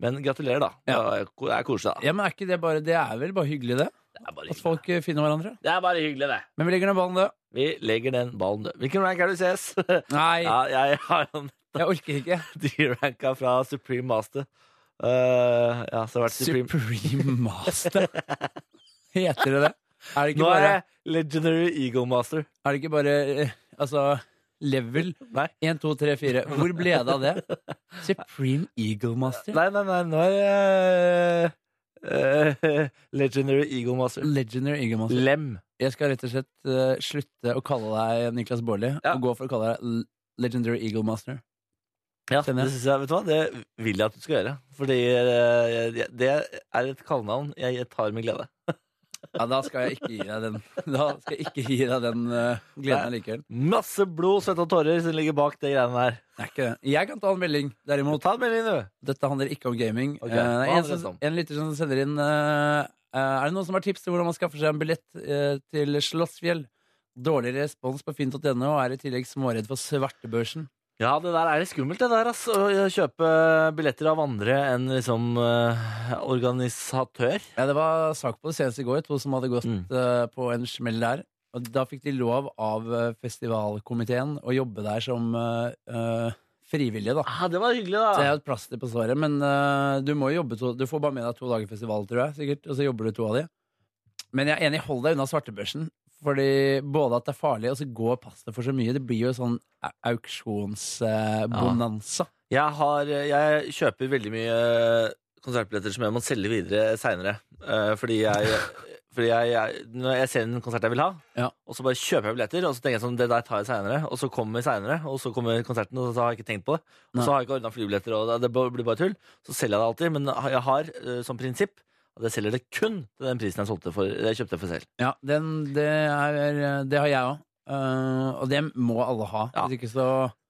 Speaker 2: Men gratulerer, da.
Speaker 3: Ja.
Speaker 2: Det er koselig, da.
Speaker 3: Ja, men er ikke det bare Det er vel bare hyggelig, det?
Speaker 2: Det er bare
Speaker 3: At
Speaker 2: hyggelig,
Speaker 3: folk eh, finner hverandre.
Speaker 2: det. Er bare hyggelig, det.
Speaker 3: Men vi legger ned ballen, det.
Speaker 2: Vi legger den ballen død. Hvilken rank er du CS?
Speaker 3: Nei,
Speaker 2: ja, jeg har en
Speaker 3: jeg orker ikke.
Speaker 2: D-ranka fra Supreme Master. Eh, ja, så har det vært Supreme.
Speaker 3: Supreme Master. Heter det det? Er det ikke
Speaker 2: Nå er
Speaker 3: bare,
Speaker 2: jeg Legendary Eagle Master.
Speaker 3: er det ikke bare eh, altså, level
Speaker 2: Nei.
Speaker 3: 1, 2, 3, 4? Hvor ble det av det? Supreme Eagle Master?
Speaker 2: Nei, nei, nei, nå er jeg eh, Legendary Eagle Master.
Speaker 3: Legendary Eagle Master.
Speaker 2: Lem.
Speaker 3: Jeg skal rett og slett eh, slutte å kalle deg Niklas Baarli
Speaker 2: Ja.
Speaker 3: og gå for å kalle deg L- Legendary Eagle Master.
Speaker 2: Ja, det
Speaker 3: Skjønner jeg.
Speaker 2: synes jeg, vet du hva? Det vil jeg at du skal gjøre. Fordi eh, jeg- det er et kallenavn jeg tar med glede.
Speaker 3: Ja, da skal jeg ikke gi deg den, da skal jeg ikke gi deg den eh, gleden allikevel.
Speaker 2: Masse blod, svette og tårer som ligger bak det greiene der.
Speaker 3: Det er ikke det. Jeg kan ta en melding, derimot.
Speaker 2: Ta en melding, du.
Speaker 3: Dette handler ikke om gaming.
Speaker 2: Ok,
Speaker 3: Eh, det er
Speaker 2: hva
Speaker 3: en,
Speaker 2: handler det
Speaker 3: som,
Speaker 2: om?
Speaker 3: en lytter som sender inn eh, eh, Er det noen som har tips til hvordan man skaffer seg en billett eh, til Slottsfjell? Dårlig respons på finn.no, og er i tillegg småredd for svartebørsen.
Speaker 2: Ja, det der er litt skummelt, det der, ass. Å kjøpe billetter av andre enn liksom eh, organisatør.
Speaker 3: Ja, det var sak på det seneste i går, to som hadde gått
Speaker 2: Mm.
Speaker 3: eh, på en smell der. Og da fikk de lov av eh, festivalkomiteen å jobbe der som eh, eh, frivillige, da.
Speaker 2: Ah, det var hyggelig,
Speaker 3: Så jeg
Speaker 2: da.
Speaker 3: har et plaster på svaret, men eh, du må jo jobbe to, Du får bare med deg to dager festival, tror jeg, sikkert, og så jobber du to av de. Men jeg er enig, hold deg unna svartebørsen. Fordi både at det er farlig, og så går passet for så mye. Det blir jo sånn auksjonsbonanza.
Speaker 2: Jeg, har, jeg kjøper veldig mye konsertbilletter som jeg må selge videre seinere. Fordi jeg, fordi jeg, jeg Når jeg ser en konsert jeg vil ha,
Speaker 3: Ja.
Speaker 2: og så bare kjøper jeg billetter, og så tenker jeg sånn Det der tar jeg seinere, og så kommer seinere, og så kommer konserten, og så har jeg ikke tenkt på det. Og
Speaker 3: Nei.
Speaker 2: så har jeg ikke ordna flybilletter, og det blir bare tull. Så selger jeg det alltid. Men jeg har eh, som prinsipp at jeg selger det kun til den prisen jeg, solgte for, jeg kjøpte for selv.
Speaker 3: Ja, den, det, er, eh, det har jeg òg. og det må alle ha.
Speaker 2: Ja.
Speaker 3: Hvis ikke så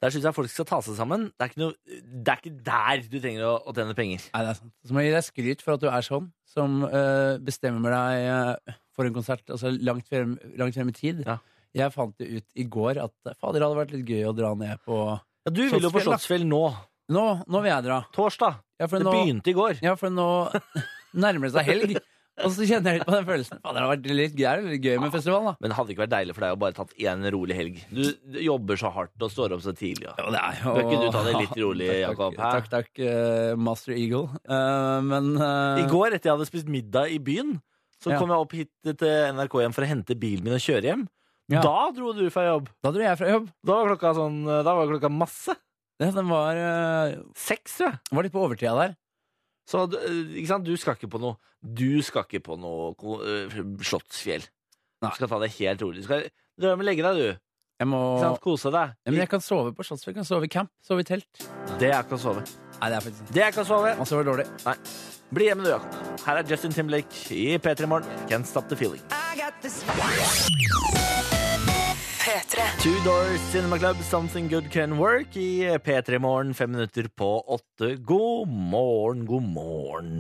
Speaker 2: Der syns jeg folk skal ta seg sammen. Det er ikke, noe, det er ikke der du trenger å, å tjene penger.
Speaker 3: Nei, det er sant. Så må jeg gi deg skryt for at du er sånn, som eh, bestemmer deg eh, for en konsert altså langt frem, langt frem i tid.
Speaker 2: Ja.
Speaker 3: Jeg fant det ut i går at fader, det hadde vært litt gøy å dra ned på
Speaker 2: Ja, du vil jo på
Speaker 3: Slottsfjell, da.
Speaker 2: Slottsfjell nå.
Speaker 3: Nå, nå vil jeg dra!
Speaker 2: Torsdag.
Speaker 3: Ja, for
Speaker 2: Det
Speaker 3: nå,
Speaker 2: begynte i går.
Speaker 3: ja, for nå nærmer det seg helg. Og så kjenner jeg litt på den følelsen. Faen, det har vært litt gøy, litt gøy med festival, da.
Speaker 2: Men hadde det ikke vært deilig for deg å bare tatt én rolig helg? Du, du jobber så hardt og står opp så tidlig. Og.
Speaker 3: det er jo
Speaker 2: Bør ikke du ta det litt rolig, Jakob? hæ?
Speaker 3: Takk, takk, eh, Master Eagle. Eh, men
Speaker 2: I
Speaker 3: eh,
Speaker 2: går, etter jeg hadde spist middag i byen, så
Speaker 3: Ja.
Speaker 2: kom jeg opp hit til NRK hjem for å hente bilen min og kjøre hjem.
Speaker 3: Ja.
Speaker 2: Da dro du fra jobb.
Speaker 3: Da dro jeg fra jobb.
Speaker 2: Da var klokka, sånn, da var klokka masse.
Speaker 3: Ja, Den var, eh,
Speaker 2: Seks, tror jeg.
Speaker 3: var litt på overtida der.
Speaker 2: Så du- ikke sant? du skal ikke på noe Du skal ikke på noe ko- øh, Slottsfjell.
Speaker 3: Nei.
Speaker 2: Du skal ta det helt rolig. Du skal drømme legge deg, du.
Speaker 3: Jeg må
Speaker 2: Ikke sant? Kose deg.
Speaker 3: ja, Men jeg kan sove på Slottsfjell. Kan sove i camp. Sove i telt.
Speaker 2: Det er ikke å sove.
Speaker 3: Nei, det er faktisk
Speaker 2: Det er ikke å sove.
Speaker 3: Man sover dårlig.
Speaker 2: Nei. Bli hjemme, du, Jakob. Her er Justin Timberlake i P3 Morgen. Can't stop the feeling.
Speaker 1: P3.
Speaker 2: Two Doors Cinema Club, Something Good Can Work i P3 Morgen, fem minutter på åtte. God morgen, god morgen.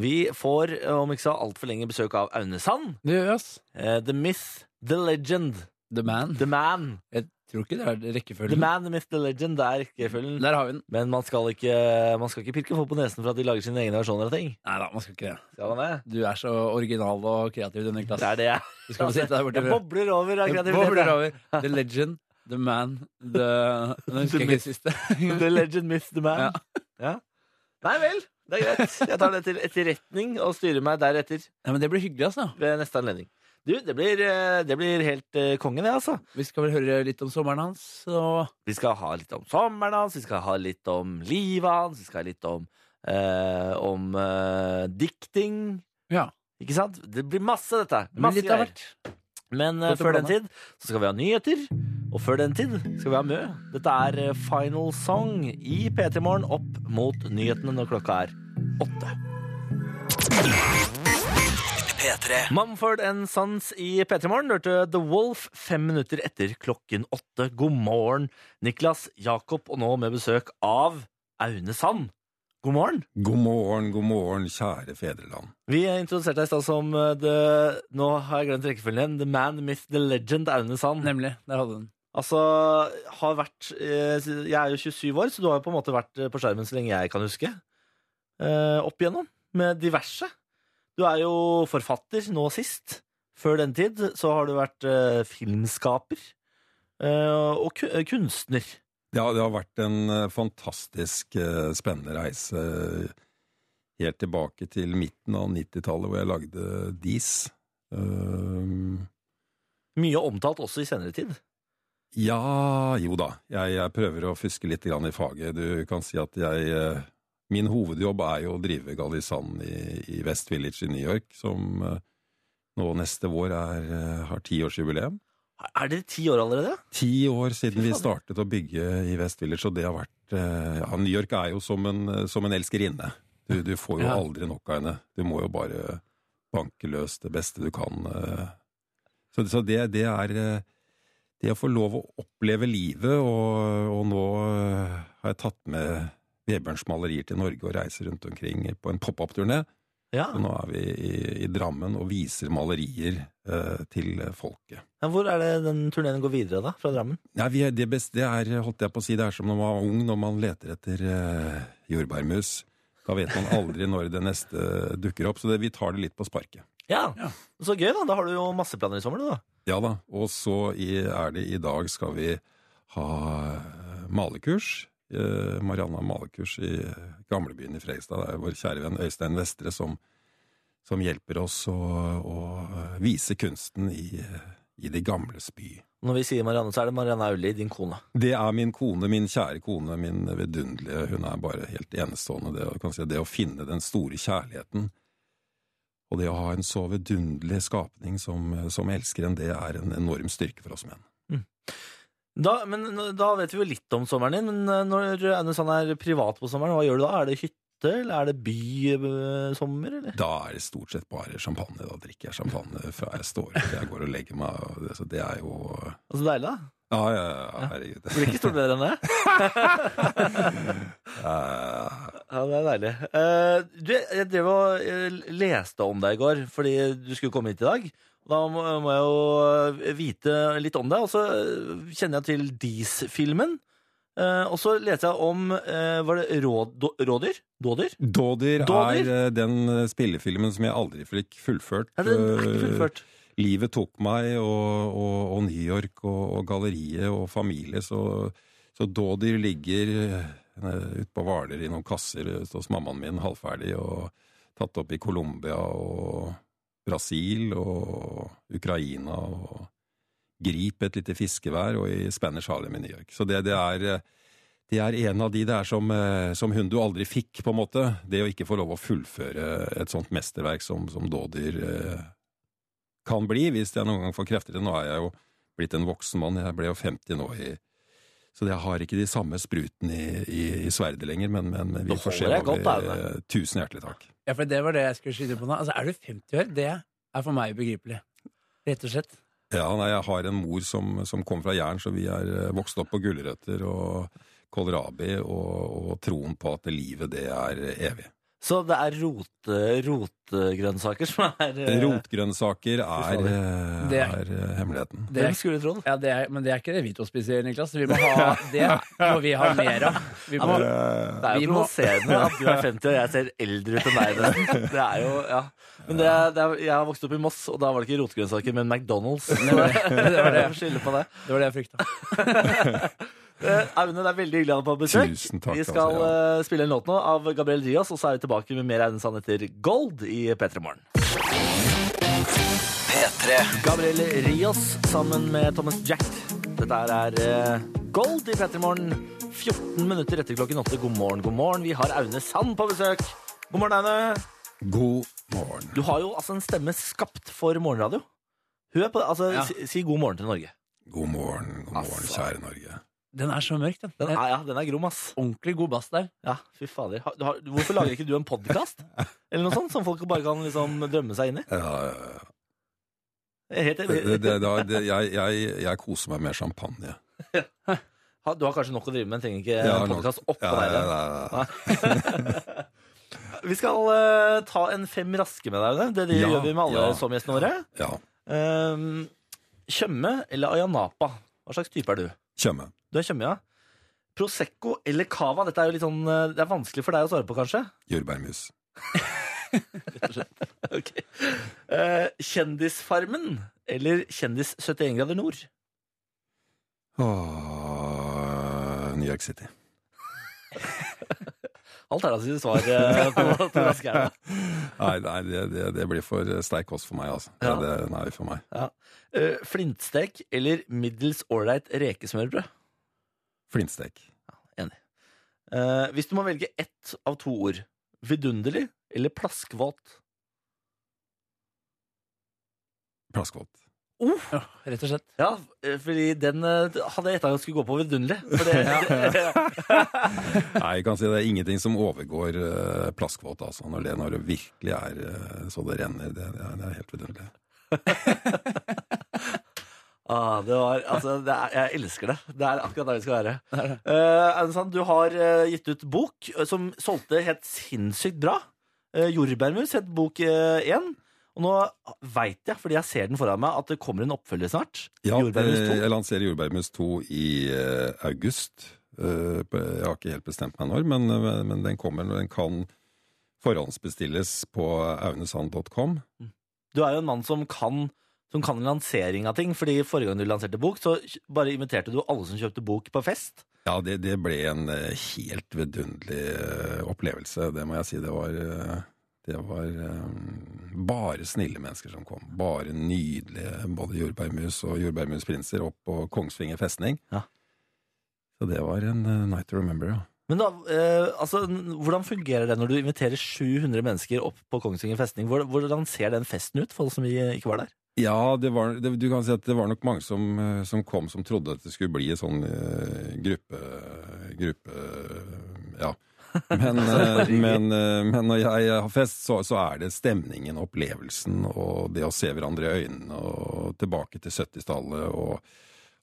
Speaker 2: Vi får, om ikke så altfor lenge, besøk av Aune Sand.
Speaker 3: Du, ass.
Speaker 2: Eh, The Myth, The Legend,
Speaker 3: The Man.
Speaker 2: The Man.
Speaker 3: Jeg tror ikke det er
Speaker 2: The
Speaker 3: rekkefølgen.
Speaker 2: Man, The Myth, The Legend, det er rekkefølgen.
Speaker 3: Der har vi den.
Speaker 2: Men man skal, ikke, man skal ikke pirke folk på nesen for at de lager sine egne versjoner av ting.
Speaker 3: Nei da, man skal ikke det.
Speaker 2: Skal man det?
Speaker 3: Du er så original og kreativ, du, Niklas.
Speaker 2: Det er det jeg
Speaker 3: Du skal få sitte der borte.
Speaker 2: Jeg bobler over av
Speaker 3: Det
Speaker 2: kreativitet.
Speaker 3: bobler over. The legend, the man, the Nå husker jeg ikke det siste.
Speaker 2: jeg. The Legend, Myth, The Man.
Speaker 3: Ja.
Speaker 2: Ja. Nei vel, det er greit. Jeg tar det til etterretning og styrer meg deretter
Speaker 3: Nei, men det blir hyggelig, altså.
Speaker 2: ved neste anledning. Du, det blir, eh, det blir helt eh, konge, det, altså.
Speaker 3: Vi skal vel høre litt om sommeren hans. Og
Speaker 2: Vi skal ha litt om sommeren hans, vi skal ha litt om livet hans, vi skal ha litt om, eh, om eh, dikting.
Speaker 3: ja,
Speaker 2: Ikke sant? Det blir masse, dette.
Speaker 3: det blir
Speaker 2: Masse
Speaker 3: litt av
Speaker 2: greier.
Speaker 3: hvert.
Speaker 2: Men eh,
Speaker 3: Godt å
Speaker 2: før den
Speaker 3: blande.
Speaker 2: tid så skal vi ha nyheter, og før den tid skal vi ha Mø. Dette er eh, Final Song i P3 Morgen opp mot nyhetene når klokka er åtte.
Speaker 1: P3.
Speaker 2: Mumford and Sons i P3 Morgen hørte The Wolf fem minutter etter klokken åtte. God morgen, Niklas, Jakob, og nå med besøk av Aune Sand. God morgen.
Speaker 4: God morgen, god morgen, kjære fedreland.
Speaker 2: Vi introduserte deg i stad som eh, The Nå har jeg glemt rekkefølgen igjen. The Man, Myth, The Legend, Aune Sand.
Speaker 3: Nemlig. Der hadde den.
Speaker 2: Altså, har vært eh, Jeg er jo 27 år, så du har jo på en måte vært eh, på skjermen så lenge jeg kan huske. Eh, opp igjennom. Med diverse. Du er jo forfatter nå sist. Før den tid så har du vært eh, filmskaper. eh, og ku- eh, kunstner.
Speaker 4: Ja, det har vært en eh, fantastisk eh, spennende reise eh, helt tilbake til midten av 90-tallet, hvor jeg lagde Dis. Ehm,
Speaker 2: Mye omtalt også i senere tid.
Speaker 4: ja, jo da, jeg, jeg prøver å fuske litt grann i faget. Du kan si at jeg eh, Min hovedjobb er jo å drive Galisand i, i West Village i New York, som eh, nå neste vår er, eh, har tiårsjubileum.
Speaker 2: Er dere ti år allerede?
Speaker 4: Ti år siden
Speaker 2: Fy
Speaker 4: vi
Speaker 2: fader.
Speaker 4: startet å bygge i West Village, og det har vært eh, Ja, New York er jo som en, eh, som en elskerinne. Du, du får jo
Speaker 3: Ja.
Speaker 4: aldri nok av henne. Du må jo bare banke løs det beste du kan. eh. Så, så det, det er eh, Det å få lov å oppleve livet, og, og nå eh, har jeg tatt med Vebjørns malerier til Norge og reiser rundt omkring på en pop-up-turné.
Speaker 2: Ja.
Speaker 4: Og nå er vi i, i Drammen og viser malerier eh, til folket.
Speaker 2: ja. Hvor er det den turneen går videre, da? Fra Drammen?
Speaker 4: Nei, vi er, det, beste, det er, holdt jeg på å si, det er som når man var ung, når man leter etter eh, jordbærmus. Da vet man aldri når det neste dukker opp, så det, vi tar det litt på sparket.
Speaker 2: Ja.
Speaker 3: Ja.
Speaker 2: Så gøy, da. Da har du jo masse planer i sommer, du, da.
Speaker 4: Ja da, og så i, er det i dag skal vi ha eh, malekurs. Eh, Marianne har malekurs i gamlebyen i Fredrikstad. Det er vår kjære venn Øystein Vestre som, som hjelper oss å, å eh, vise kunsten i, i de gamles by.
Speaker 2: Når vi sier Marianne, så er det Marianne Aulie, din kone.
Speaker 4: Det er min kone, min kjære kone, min vidunderlige. Hun er bare helt enestående. Det, å- kan si, det å finne den store kjærligheten og det å ha en så vidunderlig skapning som, som elsker en, det er en enorm styrke for oss menn.
Speaker 2: Da, men, nå- da vet vi jo litt om sommeren din, men eh, når Aune Sand er privat på sommeren, hva gjør du da? Er det hytte, eller er det bysommer, eller?
Speaker 4: Da er det stort sett bare champagne. Da drikker jeg champagne fra jeg står opp til jeg går og legger meg. og det- Så det er jo
Speaker 2: Altså deilig, da.
Speaker 4: Ja, ja, ja, herregud.
Speaker 2: Det blir ikke stort bedre enn det.
Speaker 4: Eh,
Speaker 2: Ja, det er deilig. Eh, du, jeg drev og eh, leste om deg i går, fordi du skulle komme hit i dag. Da må, må jeg jo eh, vite litt om deg, og så eh, kjenner jeg til Dis-filmen. Eh, og så leste jeg om eh, Var det rå, då, rådyr? Dådyr?
Speaker 4: Dådyr
Speaker 2: Dådyr?
Speaker 4: er eh, den eh, spillefilmen som jeg aldri fikk fullført.
Speaker 2: Nei, den er ikke
Speaker 4: Eh,
Speaker 2: fullført.
Speaker 4: Livet tok meg, og, og, og New York, og, og galleriet, og familie, så, så Dådyr ligger eh, ute på Hvaler i noen kasser eh, hos mammaen min, halvferdig, og tatt opp i Colombia og Brasil og Ukraina og Grip et lite fiskevær, og i Spanish Harlem i New York. Så det, det er eh, det er en av de der som, eh, som hun du aldri fikk, på en måte. Det å ikke få lov å fullføre et sånt mesterverk som, som Dådyr eh, kan bli, hvis jeg noen gang får krefter til det. Nå er jeg jo blitt en voksen mann, jeg ble jo 50 nå i Så jeg har ikke de samme sprutene i, i, i sverdet lenger, men, men vi
Speaker 2: Da
Speaker 4: får se.
Speaker 2: holder jeg
Speaker 4: hva
Speaker 2: godt,
Speaker 4: vi-
Speaker 2: Aune.
Speaker 4: Tusen hjertelig takk.
Speaker 3: Ja, for det var det jeg skulle skyte på nå. Altså, er du 50 år? Det er for meg ubegripelig. Rett og slett.
Speaker 4: Ja, nei, jeg har en mor som, som kom fra Jæren, så vi er eh, vokst opp på gulrøtter og kålrabi og, og troen på at livet, det er eh, evig.
Speaker 2: Så det er rote, rotgrønnsaker som er eh,
Speaker 4: Rotgrønnsaker er, eh,
Speaker 3: Det-
Speaker 4: er eh, hemmeligheten.
Speaker 3: Det
Speaker 2: Hvem
Speaker 3: er,
Speaker 2: skulle trodd?
Speaker 3: ja, det er, men det er ikke det vi to spiser, Niklas. Vi må ha, det må vi ha mer av. Vi må,
Speaker 2: Det er
Speaker 3: Vi
Speaker 2: jo
Speaker 3: må-
Speaker 2: provoserende at du er 50 og jeg ser eldre ut enn deg. nesten. Det er jo, ja. Men det er, det er, jeg har vokst opp i Moss, og da var det ikke rotgrønnsaker, men McDonald's. Så
Speaker 3: Nei,
Speaker 2: det
Speaker 3: var det.
Speaker 2: Jeg får skylde på det.
Speaker 3: det var det jeg frykta.
Speaker 2: Eh, Aune, det er veldig hyggelig å ha deg på besøk.
Speaker 4: Tusen takk,
Speaker 2: vi skal
Speaker 4: altså,
Speaker 2: eh, spille en låt nå av Gabriel Dias, og så er vi tilbake med mer Aune Sand etter Gold i P3 Morgen.
Speaker 1: P3.
Speaker 2: Gabriel Rios sammen med Thomas Jack. Dette her er eh, Gold i P3 Morgen. 14 minutter etter klokken åtte. God morgen, god morgen. Vi har Aune Sand på besøk. God morgen, Aune.
Speaker 4: God morgen.
Speaker 2: Du har jo altså en stemme skapt for morgenradio. Hør på det. Altså,
Speaker 3: Ja.
Speaker 2: si, si god morgen til Norge.
Speaker 4: God morgen, god morgen,
Speaker 2: Altså.
Speaker 4: kjære Norge.
Speaker 3: Den er så mørk, den.
Speaker 2: Den
Speaker 4: Eh.
Speaker 3: den
Speaker 2: er, ja, den er grom, ass.
Speaker 3: ordentlig god bass der.
Speaker 2: Ja, fy fader. Har, du har, hvorfor lager ikke du en podkast? Eller noe sånt, som folk bare kan liksom drømme seg inn i?
Speaker 4: Ja, ja, ja.
Speaker 2: Helt,
Speaker 4: det, det, det, det, jeg, jeg, jeg koser meg med champagne.
Speaker 2: Ha- du har kanskje nok å drive med, men trenger
Speaker 4: Jeg
Speaker 2: ikke
Speaker 4: har
Speaker 2: en
Speaker 4: nok-
Speaker 2: podkast oppå
Speaker 4: Ja, ja,
Speaker 2: der.
Speaker 4: ja, ja.
Speaker 2: Vi skal eh, ta en fem raske med deg, Aune. Det, det
Speaker 4: Ja,
Speaker 2: gjør vi med alle
Speaker 4: ja.
Speaker 2: somgjestene våre.
Speaker 4: ja.
Speaker 2: Ehm, Tjøme eller Ayanapa? Hva slags type er du?
Speaker 4: Tjøme.
Speaker 2: Du er Tjøme, ja. Prosecco eller Cava? Dette er jo litt sånn, eh, det er vanskelig for deg å svare på, kanskje?
Speaker 4: Jordbærmus.
Speaker 2: Ok. Eh, kjendisfarmen eller Kjendis 71 grader nord?
Speaker 4: Åh, New York City.
Speaker 2: Alternative svar eh, på, på raskere.
Speaker 4: Nei, nei det, det, det blir for sterk kost for meg, altså.
Speaker 2: Ja.
Speaker 4: Det, det, nei, for meg.
Speaker 2: Eh, flintstek eller middels ålreit rekesmørbrød?
Speaker 4: Flintstek.
Speaker 2: Eh, hvis du må velge ett av to ord, vidunderlig eller plaskvåt?
Speaker 4: Plaskvåt.
Speaker 3: Ja, rett og slett.
Speaker 2: Ja, eh, fordi den eh, hadde jeg gjetta skulle gå på vidunderlig. For det,
Speaker 4: Nei, jeg kan si det er ingenting som overgår eh, plaskvåt, altså. Når det, når det virkelig er eh, så det renner. Det, det, er, det er helt vidunderlig.
Speaker 2: ah, det var, altså, det er, jeg elsker det. Det er akkurat der vi skal være. Eh, Aune Sand, du har eh, gitt ut bok eh, som solgte helt sinnssykt bra. Eh, Jordbærmus het bok én. og nå veit jeg, fordi jeg ser den foran meg, at det kommer en oppfølger snart.
Speaker 4: Ja,
Speaker 2: Jordbærmus
Speaker 4: eh,
Speaker 2: 2.
Speaker 4: jeg lanserer Jordbærmus 2 i eh, august. Eh, på- jeg har ikke helt bestemt meg når, men, men, men den kommer når den kan forhåndsbestilles på aunesand.com.
Speaker 2: Du er jo en mann som kan, som kan lansering av ting, fordi forrige gang du lanserte bok, så kj- bare inviterte du alle som kjøpte bok, på fest.
Speaker 4: Ja, det, det ble en eh, helt vidunderlig eh, opplevelse, det må jeg si. Det var, eh, det var eh, bare snille mennesker som kom. Bare nydelige både jordbærmus og jordbærmusprinser opp på Kongsvinger festning.
Speaker 2: Ja.
Speaker 4: Så det var en eh, night to remember, ja.
Speaker 2: Men da, eh, altså, n- hvordan fungerer det når du inviterer 700 mennesker opp på Kongsvinger festning? Hvor- Hvordan ser den festen ut for alle som i- ikke var der?
Speaker 4: Ja, det var, det, du kan si at det var nok mange som, eh, som kom som trodde at det skulle bli en sånn eh, gruppe... gruppe ja. Men, eh, men, eh, men når jeg har fest, så, så er det stemningen, opplevelsen og det å se hverandre i øynene og tilbake til 70-tallet og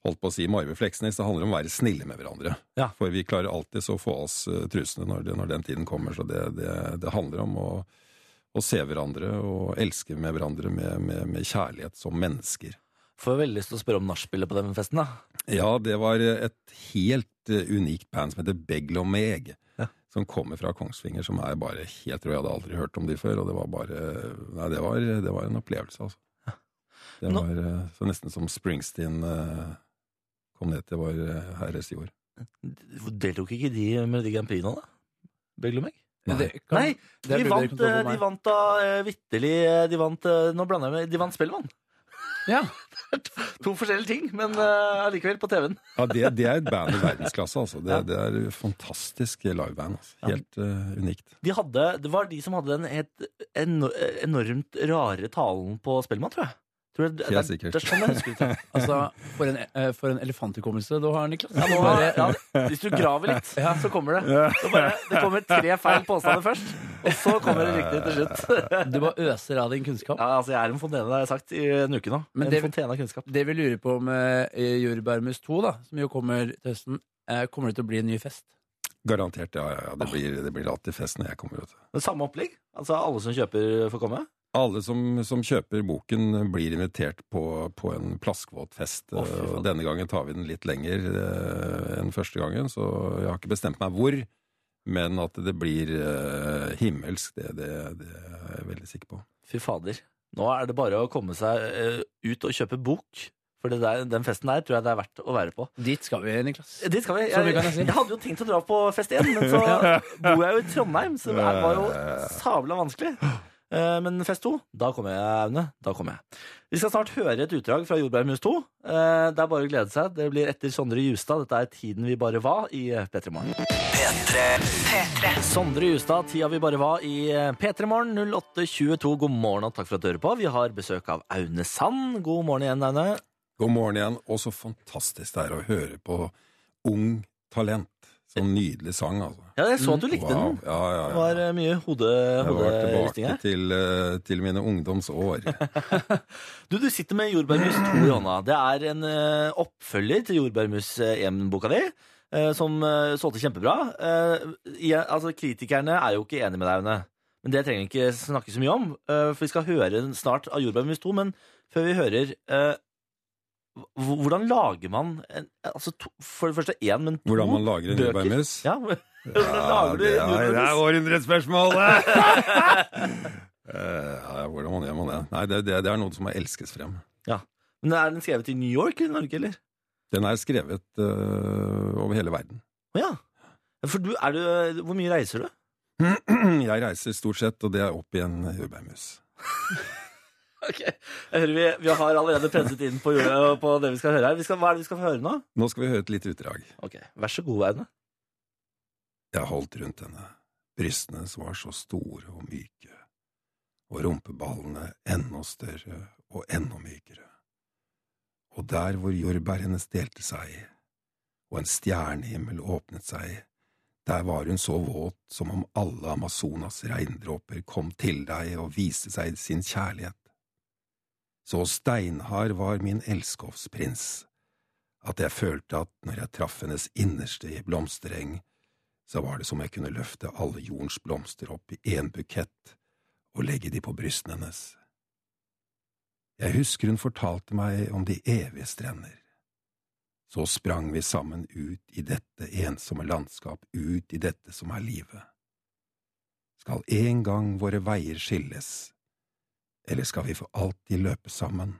Speaker 4: holdt på å si med Arve Fleksnes. Det handler om å være snille med hverandre.
Speaker 2: Ja.
Speaker 4: For vi klarer alltid så å få av oss eh, trusene når, det, når den tiden kommer, så det, det, det handler om å å se hverandre og elske med hverandre med, med, med kjærlighet som mennesker.
Speaker 2: Får jeg veldig lyst til å spørre om nachspielet på den festen, da.
Speaker 4: Ja, det var et helt eh, unikt band som heter Beglo Meg.
Speaker 2: Ja.
Speaker 4: Som kommer fra Kongsvinger, som er bare helt rå. Jeg hadde aldri hørt om de før, og det var bare Nei, det var, det var en opplevelse, altså. Det
Speaker 2: Nå-
Speaker 4: var eh, så nesten som Springsteen eh, kom ned til vår eh, herres jord.
Speaker 2: Deltok ikke de med de Grand Prix nå, da? Beglomeg?
Speaker 4: Nei.
Speaker 3: Det kan-
Speaker 2: Nei, de
Speaker 3: det burde dere
Speaker 2: vant,
Speaker 3: kontroll på
Speaker 2: eh, de
Speaker 3: meg.
Speaker 2: vant da eh, vitterlig eh, De vant, eh, nå blander jeg med, de vant Spellemann.
Speaker 3: Ja.
Speaker 2: To forskjellige ting, men eh, allikevel på TV-en.
Speaker 4: Ja, det, det er et band i verdensklasse, altså. Det,
Speaker 2: Ja.
Speaker 4: det er et fantastisk liveband. Altså.
Speaker 2: Ja.
Speaker 4: Helt eh, unikt.
Speaker 2: De hadde, det var de som hadde den helt eno- enormt rare talen på Spellemann, tror jeg. Tror jeg det,
Speaker 4: Helt
Speaker 2: det,
Speaker 4: sikkert.
Speaker 2: er- det er sånn jeg husker det.
Speaker 3: Altså, for en, eh, for en elefanthukommelse du har, Niklas.
Speaker 2: Ja, nå, ja, hvis du graver litt, så kommer det. Det, bare, det kommer tre feil påstander først, og så kommer det riktig til slutt.
Speaker 3: Du bare øser av din kunnskap.
Speaker 2: Ja, altså, jeg er en fontene, det har jeg sagt i en uke nå.
Speaker 3: Men
Speaker 2: En
Speaker 3: det-
Speaker 2: fontene av kunnskap.
Speaker 3: Det vi lurer på med eh, Jordbærmus 2, da, som jo kommer til høsten, eh, kommer det til å bli en ny fest?
Speaker 4: Garantert, ja. ja, ja. Det, blir, det blir alltid fest når jeg kommer. Vet du.
Speaker 2: Men samme opplegg? Altså, alle som kjøper, får komme?
Speaker 4: Alle som, som kjøper boken, blir invitert på, på en plaskvåt fest.
Speaker 2: Å, fy faen.
Speaker 4: og denne gangen tar vi den litt lenger eh, enn første gangen, så jeg har ikke bestemt meg hvor. Men at det blir eh, himmelsk, det, det, det er jeg veldig sikker på.
Speaker 2: Fy fader. Nå er det bare å komme seg eh, ut og kjøpe bok. For det der, den festen der tror jeg det er verdt å være på.
Speaker 3: Dit skal vi, Niklas.
Speaker 2: Dit skal vi.
Speaker 3: Så
Speaker 2: Jeg,
Speaker 3: mye kan jeg
Speaker 2: jeg,
Speaker 3: si.
Speaker 2: hadde jo tenkt å dra på fest igjen, men så bor jeg jo i Trondheim, så det var jo sabla vanskelig. Eh, Men fest to, da kommer jeg, Aune. Da kommer jeg. Vi skal snart høre et utdrag fra Jordbærmus 2. Eh, Det er bare å glede seg. Det blir etter Sondre Justad. Dette er Tiden vi bare var i eh, P3 Morgen. Sondre Justad, tida vi bare var i eh, P3 Morgen 08.22. God morgen og takk for at du hører på. Vi har besøk av Aune Sand. God morgen igjen, Aune.
Speaker 4: God morgen igjen, og så fantastisk det er å høre på Ung Talent. Sånn nydelig sang, altså.
Speaker 2: Ja, jeg så at du likte
Speaker 4: Wow.
Speaker 2: den.
Speaker 4: Ja, ja,
Speaker 2: Det
Speaker 4: ja.
Speaker 2: var eh, mye hode-
Speaker 4: Jeg var
Speaker 2: hoderysting
Speaker 4: tilbake
Speaker 2: her.
Speaker 4: til, eh, til mine ungdomsår.
Speaker 2: Du, du sitter med Jordbærmus 2 i hånda. Det er en eh, oppfølger til Jordbærmus 1-boka di. eh, Som eh, solgte kjempebra. Eh, i- Altså, Kritikerne er jo ikke enige med deg, Aune. Men det trenger vi ikke snakke så mye om. eh, For vi skal høre snart av Jordbærmus 2. Men før vi hører eh, hv- Hvordan lager man en, altså to, For det første én, men to
Speaker 4: Hvordan man lager en
Speaker 2: bøker?
Speaker 4: jordbærmus?
Speaker 2: Ja, hvordan lager du
Speaker 4: det
Speaker 2: en
Speaker 4: er, det er
Speaker 2: jordbærmus?
Speaker 4: århundrets spørsmål! Eh, ja, hvordan man gjør man det? Nei, det, det, det er noe som må elskes frem.
Speaker 2: Men Er den skrevet i New York eller Norge, eller?
Speaker 4: Den er skrevet eh, over hele verden.
Speaker 2: Å Ja. For du, er du, hvor mye reiser du?
Speaker 4: Jeg reiser stort sett, og det er opp i en jordbærmus.
Speaker 2: Ok, jeg hører vi, vi har allerede presset inn på, jorda- på det vi skal høre her. Vi skal, hva er det vi skal få høre nå?
Speaker 4: Nå skal vi høre et lite utdrag.
Speaker 2: Ok, Vær så god, Aune.
Speaker 4: Jeg holdt rundt henne, brystene som var så store og myke, og rumpeballene enda større og enda mykere. Og der hvor jordbær hennes delte seg, og en stjernehimmel åpnet seg, der var hun så våt som om alle Amazonas regndråper kom til deg og viste seg sin kjærlighet. Så steinhard var min elskovsprins, at jeg følte at når jeg traff hennes innerste i blomstereng, så var det som jeg kunne løfte alle jordens blomster opp i én bukett og legge de på brystene hennes. Jeg husker hun fortalte meg om de evige strender. Så sprang vi sammen ut i dette ensomme landskap, ut i dette som er livet. Skal en gang våre veier skilles, eller skal vi for alltid løpe sammen?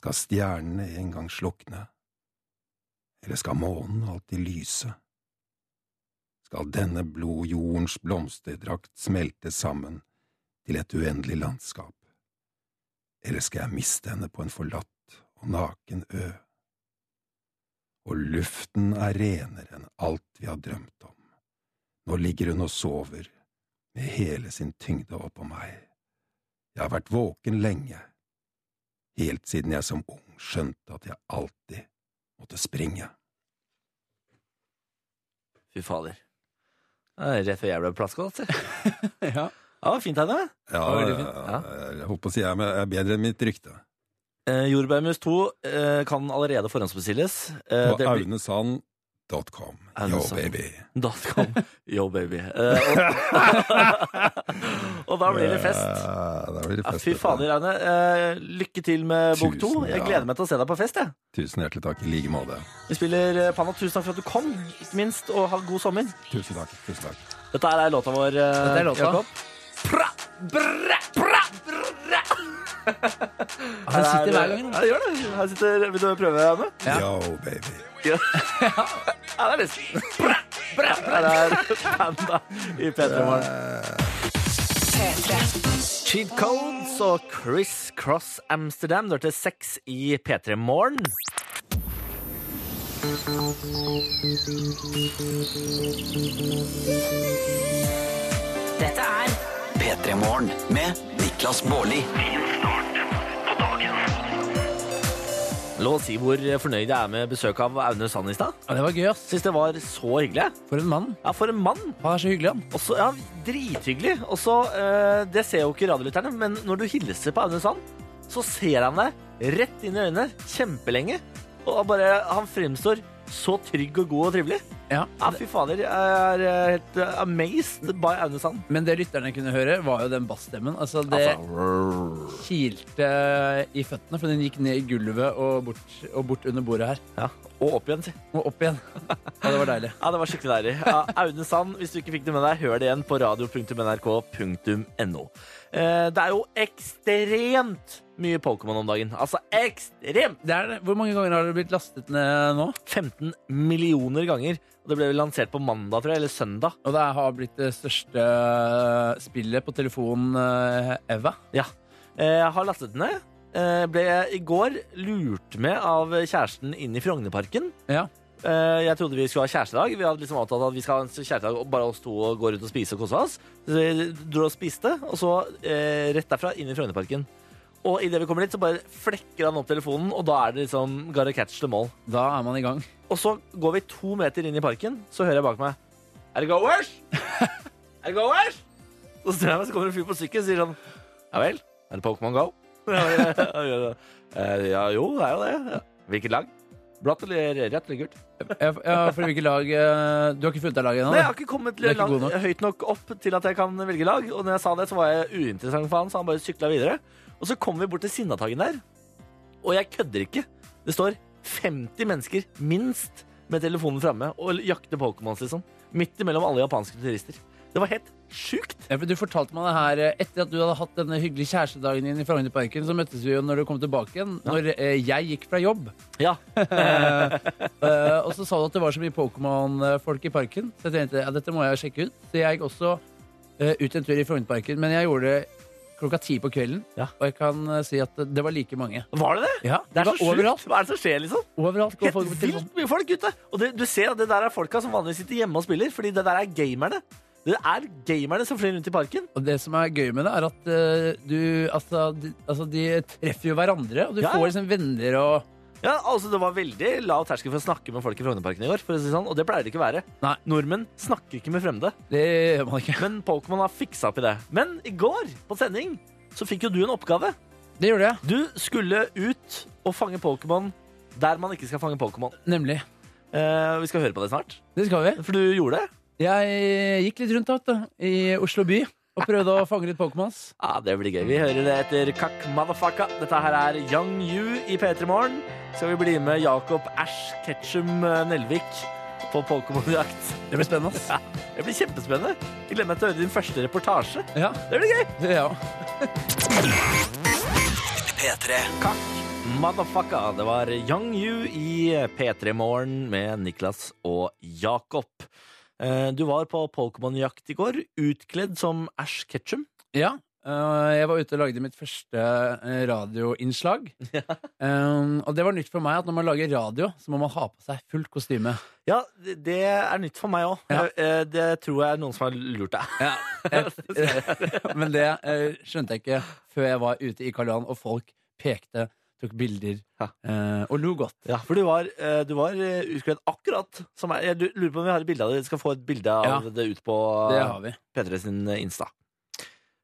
Speaker 4: Skal stjernene en gang slukne, eller skal månen alltid lyse? skal denne blodjordens blomsterdrakt smelte sammen til et uendelig landskap, eller skal jeg miste henne på en forlatt og naken ø? Og luften er renere enn alt vi har drømt om, nå ligger hun og sover med hele sin tyngde oppå meg, jeg har vært våken lenge, helt siden jeg som ung skjønte at jeg alltid måtte springe.
Speaker 2: Fy fader. Det er Rett før jeg ble plaskvåt. Ja,
Speaker 3: Ja.
Speaker 2: det var fint, Aune.
Speaker 4: Ja,
Speaker 3: var veldig fint.
Speaker 4: ja, jeg holdt på å si jeg er- jeg er bedre enn mitt rykte.
Speaker 2: Eh, Jordbærmus 2 eh, kan allerede forhåndsbestilles. Eh,
Speaker 4: På
Speaker 2: det blir-
Speaker 4: Aune Sand Dotcom.
Speaker 2: Er det
Speaker 4: Yo,
Speaker 2: sant?
Speaker 4: baby.
Speaker 2: Dotcom. Yo, baby. Eh, og, og da blir det fest.
Speaker 4: Ja, da blir det
Speaker 2: Ja,
Speaker 4: fest.
Speaker 2: fy fader, Aune. Eh, lykke til med bok
Speaker 4: Tusen,
Speaker 2: to. Jeg
Speaker 4: ja.
Speaker 2: gleder meg til å se deg på fest. jeg.
Speaker 4: Tusen hjertelig takk. I like måte.
Speaker 2: Vi spiller eh, Panna. Tusen takk for at du kom, ikke minst, og ha god sommer.
Speaker 4: Tusen takk. Tusen takk.
Speaker 2: Dette her er låta vår, eh,
Speaker 3: Dette er låta.
Speaker 2: Jakob. Pra, bra, bra, bra.
Speaker 3: Han
Speaker 2: Her er-
Speaker 3: sitter hver gang.
Speaker 2: Ja, det gjør det. Her sitter, vil du prøve, Anne?
Speaker 3: Ja.
Speaker 4: Yo, baby.
Speaker 2: Ja, ja det er nesten. Bra, bra, bra. Her er Panda i P3 Morgen.
Speaker 1: P3.
Speaker 2: Cheat Codes og Chris Cross Amsterdam. Du hørte seks i P3 Morgen.
Speaker 1: Dette er P3 Morgen med Niklas Baarli.
Speaker 2: La oss si hvor fornøyd jeg er med besøk av Aune Sand i stad.
Speaker 3: Ja, det var gøy, ass.
Speaker 2: Syns det var så hyggelig.
Speaker 3: For en mann.
Speaker 2: Ja, for en mann.
Speaker 3: Han er så hyggelig, han.
Speaker 2: Og så- ja, Drithyggelig. Og så, eh, Det ser jo ikke radiolytterne, men når du hilser på Aune Sand, så ser han deg rett inn i øynene kjempelenge. Og han bare, han fremstår så trygg og god og trivelig.
Speaker 3: Ja.
Speaker 2: Ja, fy fader. Jeg er eh, helt eh, amazed by Aune Sand.
Speaker 3: Men det lytterne kunne høre, var jo den bassstemmen. Altså, det kilte i føttene, for den gikk ned i gulvet og bort, og bort under bordet her.
Speaker 2: Ja, Og opp igjen, si.
Speaker 3: Og opp igjen. Ja, det var deilig.
Speaker 2: Ja, det var skikkelig deilig. Ja, Aune Sand, hvis du ikke fikk det med deg, hør det igjen på radio.nrk.no. Eh, Det er jo ekstremt mye Pokémon om dagen. Altså ekstremt!
Speaker 3: Det er det. Hvor mange ganger har det blitt lastet ned nå?
Speaker 2: 15 millioner ganger. Og det ble vel lansert på mandag, tror jeg, eller søndag.
Speaker 3: Og det har blitt det største spillet på telefonen eh, ever.
Speaker 2: Ja. Eh, Jeg har lastet den ned. Eh, Ble i går lurt med av kjæresten inn i Frognerparken.
Speaker 3: Ja.
Speaker 2: Eh, Jeg trodde vi skulle ha kjærestedag. Vi hadde liksom avtalt at vi skal ha en kjærestedag og bare oss to og gå rundt og spise og kose oss. Så vi dro og spiste, og så eh, rett derfra inn i Frognerparken. Og idet vi kommer dit, så bare flekker han opp telefonen, og da er det liksom gotta catch the mall.
Speaker 3: Da er man i gang.
Speaker 2: Og så går vi to meter inn i parken, så hører jeg bak meg Er det goers? er det goers? Så snur jeg meg, så kommer det en fyr på sykkel og sier sånn Ja vel, er det Pokémon Go? Eh, ja jo, det er jo det. Ja. Hvilket lag? Blått eller rødt eller gult?
Speaker 3: Ja, for- ja, for hvilket lag eh, Du har ikke fulgt deg laget
Speaker 2: Nei, jeg
Speaker 3: ennå?
Speaker 2: har ikke kommet
Speaker 3: Du er ikke
Speaker 2: langt,
Speaker 3: god nok.
Speaker 2: høyt nok opp til at jeg kan velge lag. Og når jeg sa det, så var jeg uinteressant for han, så han bare sykla videre. Og så kommer vi bort til Sinnataggen der, og jeg kødder ikke. Det står 50 mennesker, minst, med telefonen framme og jakter Pokémons, liksom. Midt imellom alle japanske turister. Det var helt sjukt.
Speaker 3: Ja, for du fortalte meg det her eh, etter at du hadde hatt denne hyggelige kjærestedagen din i Frognerparken. Så møttes vi jo når du kom tilbake igjen, når eh, jeg gikk fra jobb.
Speaker 2: Ja,
Speaker 3: Eh, og så sa du at det var så mye Pokémon-folk i parken. Så jeg tenkte ja, dette må jeg sjekke ut. Så jeg gikk også eh, ut en tur i Frognerparken, men jeg gjorde det klokka ti på kvelden.
Speaker 2: Ja.
Speaker 3: Og jeg kan eh, si at det var like mange.
Speaker 2: Var det det?
Speaker 3: Ja,
Speaker 2: Det er
Speaker 3: var
Speaker 2: så sjukt.
Speaker 3: overalt.
Speaker 2: Hva er det som skjer, liksom?
Speaker 3: Overalt går folk
Speaker 2: Helt
Speaker 3: på telefon.
Speaker 2: vilt mye folk ute. Og det, du ser at det der er folka som vanligvis sitter hjemme og spiller, fordi det der er gamerne. Det er gamerne som flyr rundt i parken.
Speaker 3: Og det som er gøy med det, er at eh, du Altså, de, altså, de treffer jo hverandre, og du
Speaker 2: Ja, ja.
Speaker 3: får liksom venner og
Speaker 2: Ja, altså Det var veldig lav terskel for å snakke med folk i Frognerparken i går. for å si det sånn, Og det pleier det ikke å være.
Speaker 3: Nei.
Speaker 2: Nordmenn snakker ikke med fremmede.
Speaker 3: Det gjør man ikke.
Speaker 2: Men Pokémon har fiksa opp i det. Men i går på sending så fikk jo du en oppgave.
Speaker 3: Det gjorde jeg.
Speaker 2: Du skulle ut og fange Pokémon der man ikke skal fange Pokémon.
Speaker 3: Nemlig.
Speaker 2: Eh, vi skal høre på det snart.
Speaker 3: Det skal vi.
Speaker 2: For du gjorde det.
Speaker 3: Jeg gikk litt rundt da, vet du, i Oslo by og prøvde å fange litt Pokémons.
Speaker 2: Ja, Det blir gøy. Vi hører det etter Kakk Motherfucka. Dette her er Young You i P3 Morgen. Skal vi bli med Jakob Æsj Ketchum eh, Nelvik på Pokémon-jakt?
Speaker 3: Det blir spennende. ass.
Speaker 2: Ja, det blir kjempespennende. Jeg gleder meg til å høre din første reportasje.
Speaker 3: Ja,
Speaker 2: Det blir gøy!
Speaker 3: det ja.
Speaker 1: P3.
Speaker 2: Motherfucka, det var Young You i P3 Morgen med Niklas og Jakob. Eh, Du var på Pokémon-jakt i går, utkledd som Ash Ketchum.
Speaker 3: Ja. eh, jeg var ute og lagde mitt første eh, radioinnslag. Eh, og det var nytt for meg at når man lager radio, så må man ha på seg fullt kostyme.
Speaker 2: Ja, det det er nytt for meg òg.
Speaker 3: Ja.
Speaker 2: Det tror jeg er noen som har lurt deg.
Speaker 3: Men det eh, skjønte jeg ikke før jeg var ute i Karl Johan, og folk pekte, tok bilder
Speaker 2: Ja.
Speaker 3: eh, og lo godt.
Speaker 2: Ja, For du var, eh, du var eh, utkledd akkurat som meg. Jeg lurer på om vi har et bilde av det. Vi skal få et bilde av
Speaker 3: Ja.
Speaker 2: det ut på
Speaker 3: Det har vi.
Speaker 2: P3 sin eh, Insta.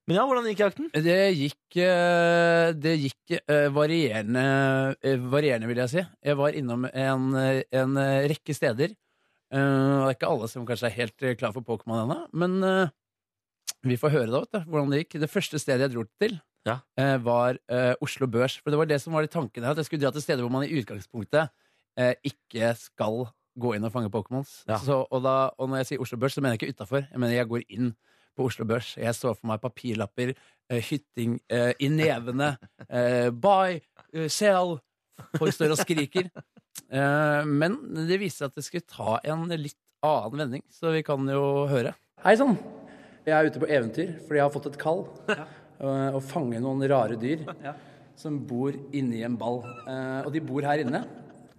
Speaker 2: Men ja, hvordan gikk jakten?
Speaker 3: Det gikk, eh, det gikk eh, varierende, eh, varierende, vil jeg si. Jeg var innom en, eh, en eh, rekke steder. Eh, og det er ikke alle som kanskje er helt eh, klar for Pokémon ennå, men eh, vi får høre da, vet du, hvordan det gikk. Det første stedet jeg dro til,
Speaker 2: Ja.
Speaker 3: eh, var eh, Oslo Børs. For det var det som var litt tanken her, at jeg skulle dra til steder hvor man i utgangspunktet eh, ikke skal gå inn og fange Pokémons.
Speaker 2: Ja.
Speaker 3: Så- Og, da- og når jeg sier Oslo Børs, så mener jeg ikke utafor. Jeg mener jeg går inn på Oslo Børs. Jeg så for meg papirlapper, eh, hytting eh, i nevene, eh, buy, eh, sell. Folk står og skriker. Eh, men det viste seg at det skulle ta en litt annen vending, så vi kan jo høre. Hei sann! Jeg er ute på eventyr fordi jeg har fått et kall. eh, Å fange noen rare dyr som bor inni en ball. Eh, og de bor her inne.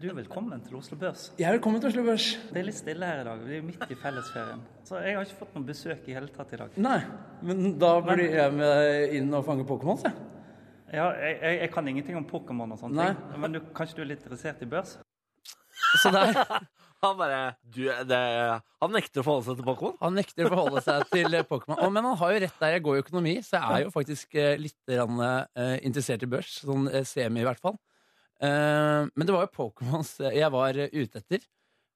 Speaker 5: Du er velkommen til Oslo Børs.
Speaker 3: Jeg er velkommen til Oslo Børs.
Speaker 5: Det er litt stille her i dag. Vi er midt i fellesferien. Så jeg har ikke fått noe besøk i hele tatt i dag.
Speaker 3: Nei, men da burde jeg med deg inn og fange Pokémon, jeg.
Speaker 5: Ja, jeg, jeg, jeg kan ingenting om Pokémon og sånne
Speaker 3: Nei.
Speaker 5: ting, men du, kanskje du er litt interessert i børs?
Speaker 3: Så der,
Speaker 2: Han bare du, det, Han nekter å forholde seg til Pokémon.
Speaker 3: han nekter å forholde seg til eh, Pokémon. Å, men han har jo rett der. Jeg går i økonomi, så jeg er jo faktisk eh, litt grann, eh, interessert i børs. Sånn eh, semi, i hvert fall. Eh, men det var jo Pokémons eh, jeg var eh, ute etter.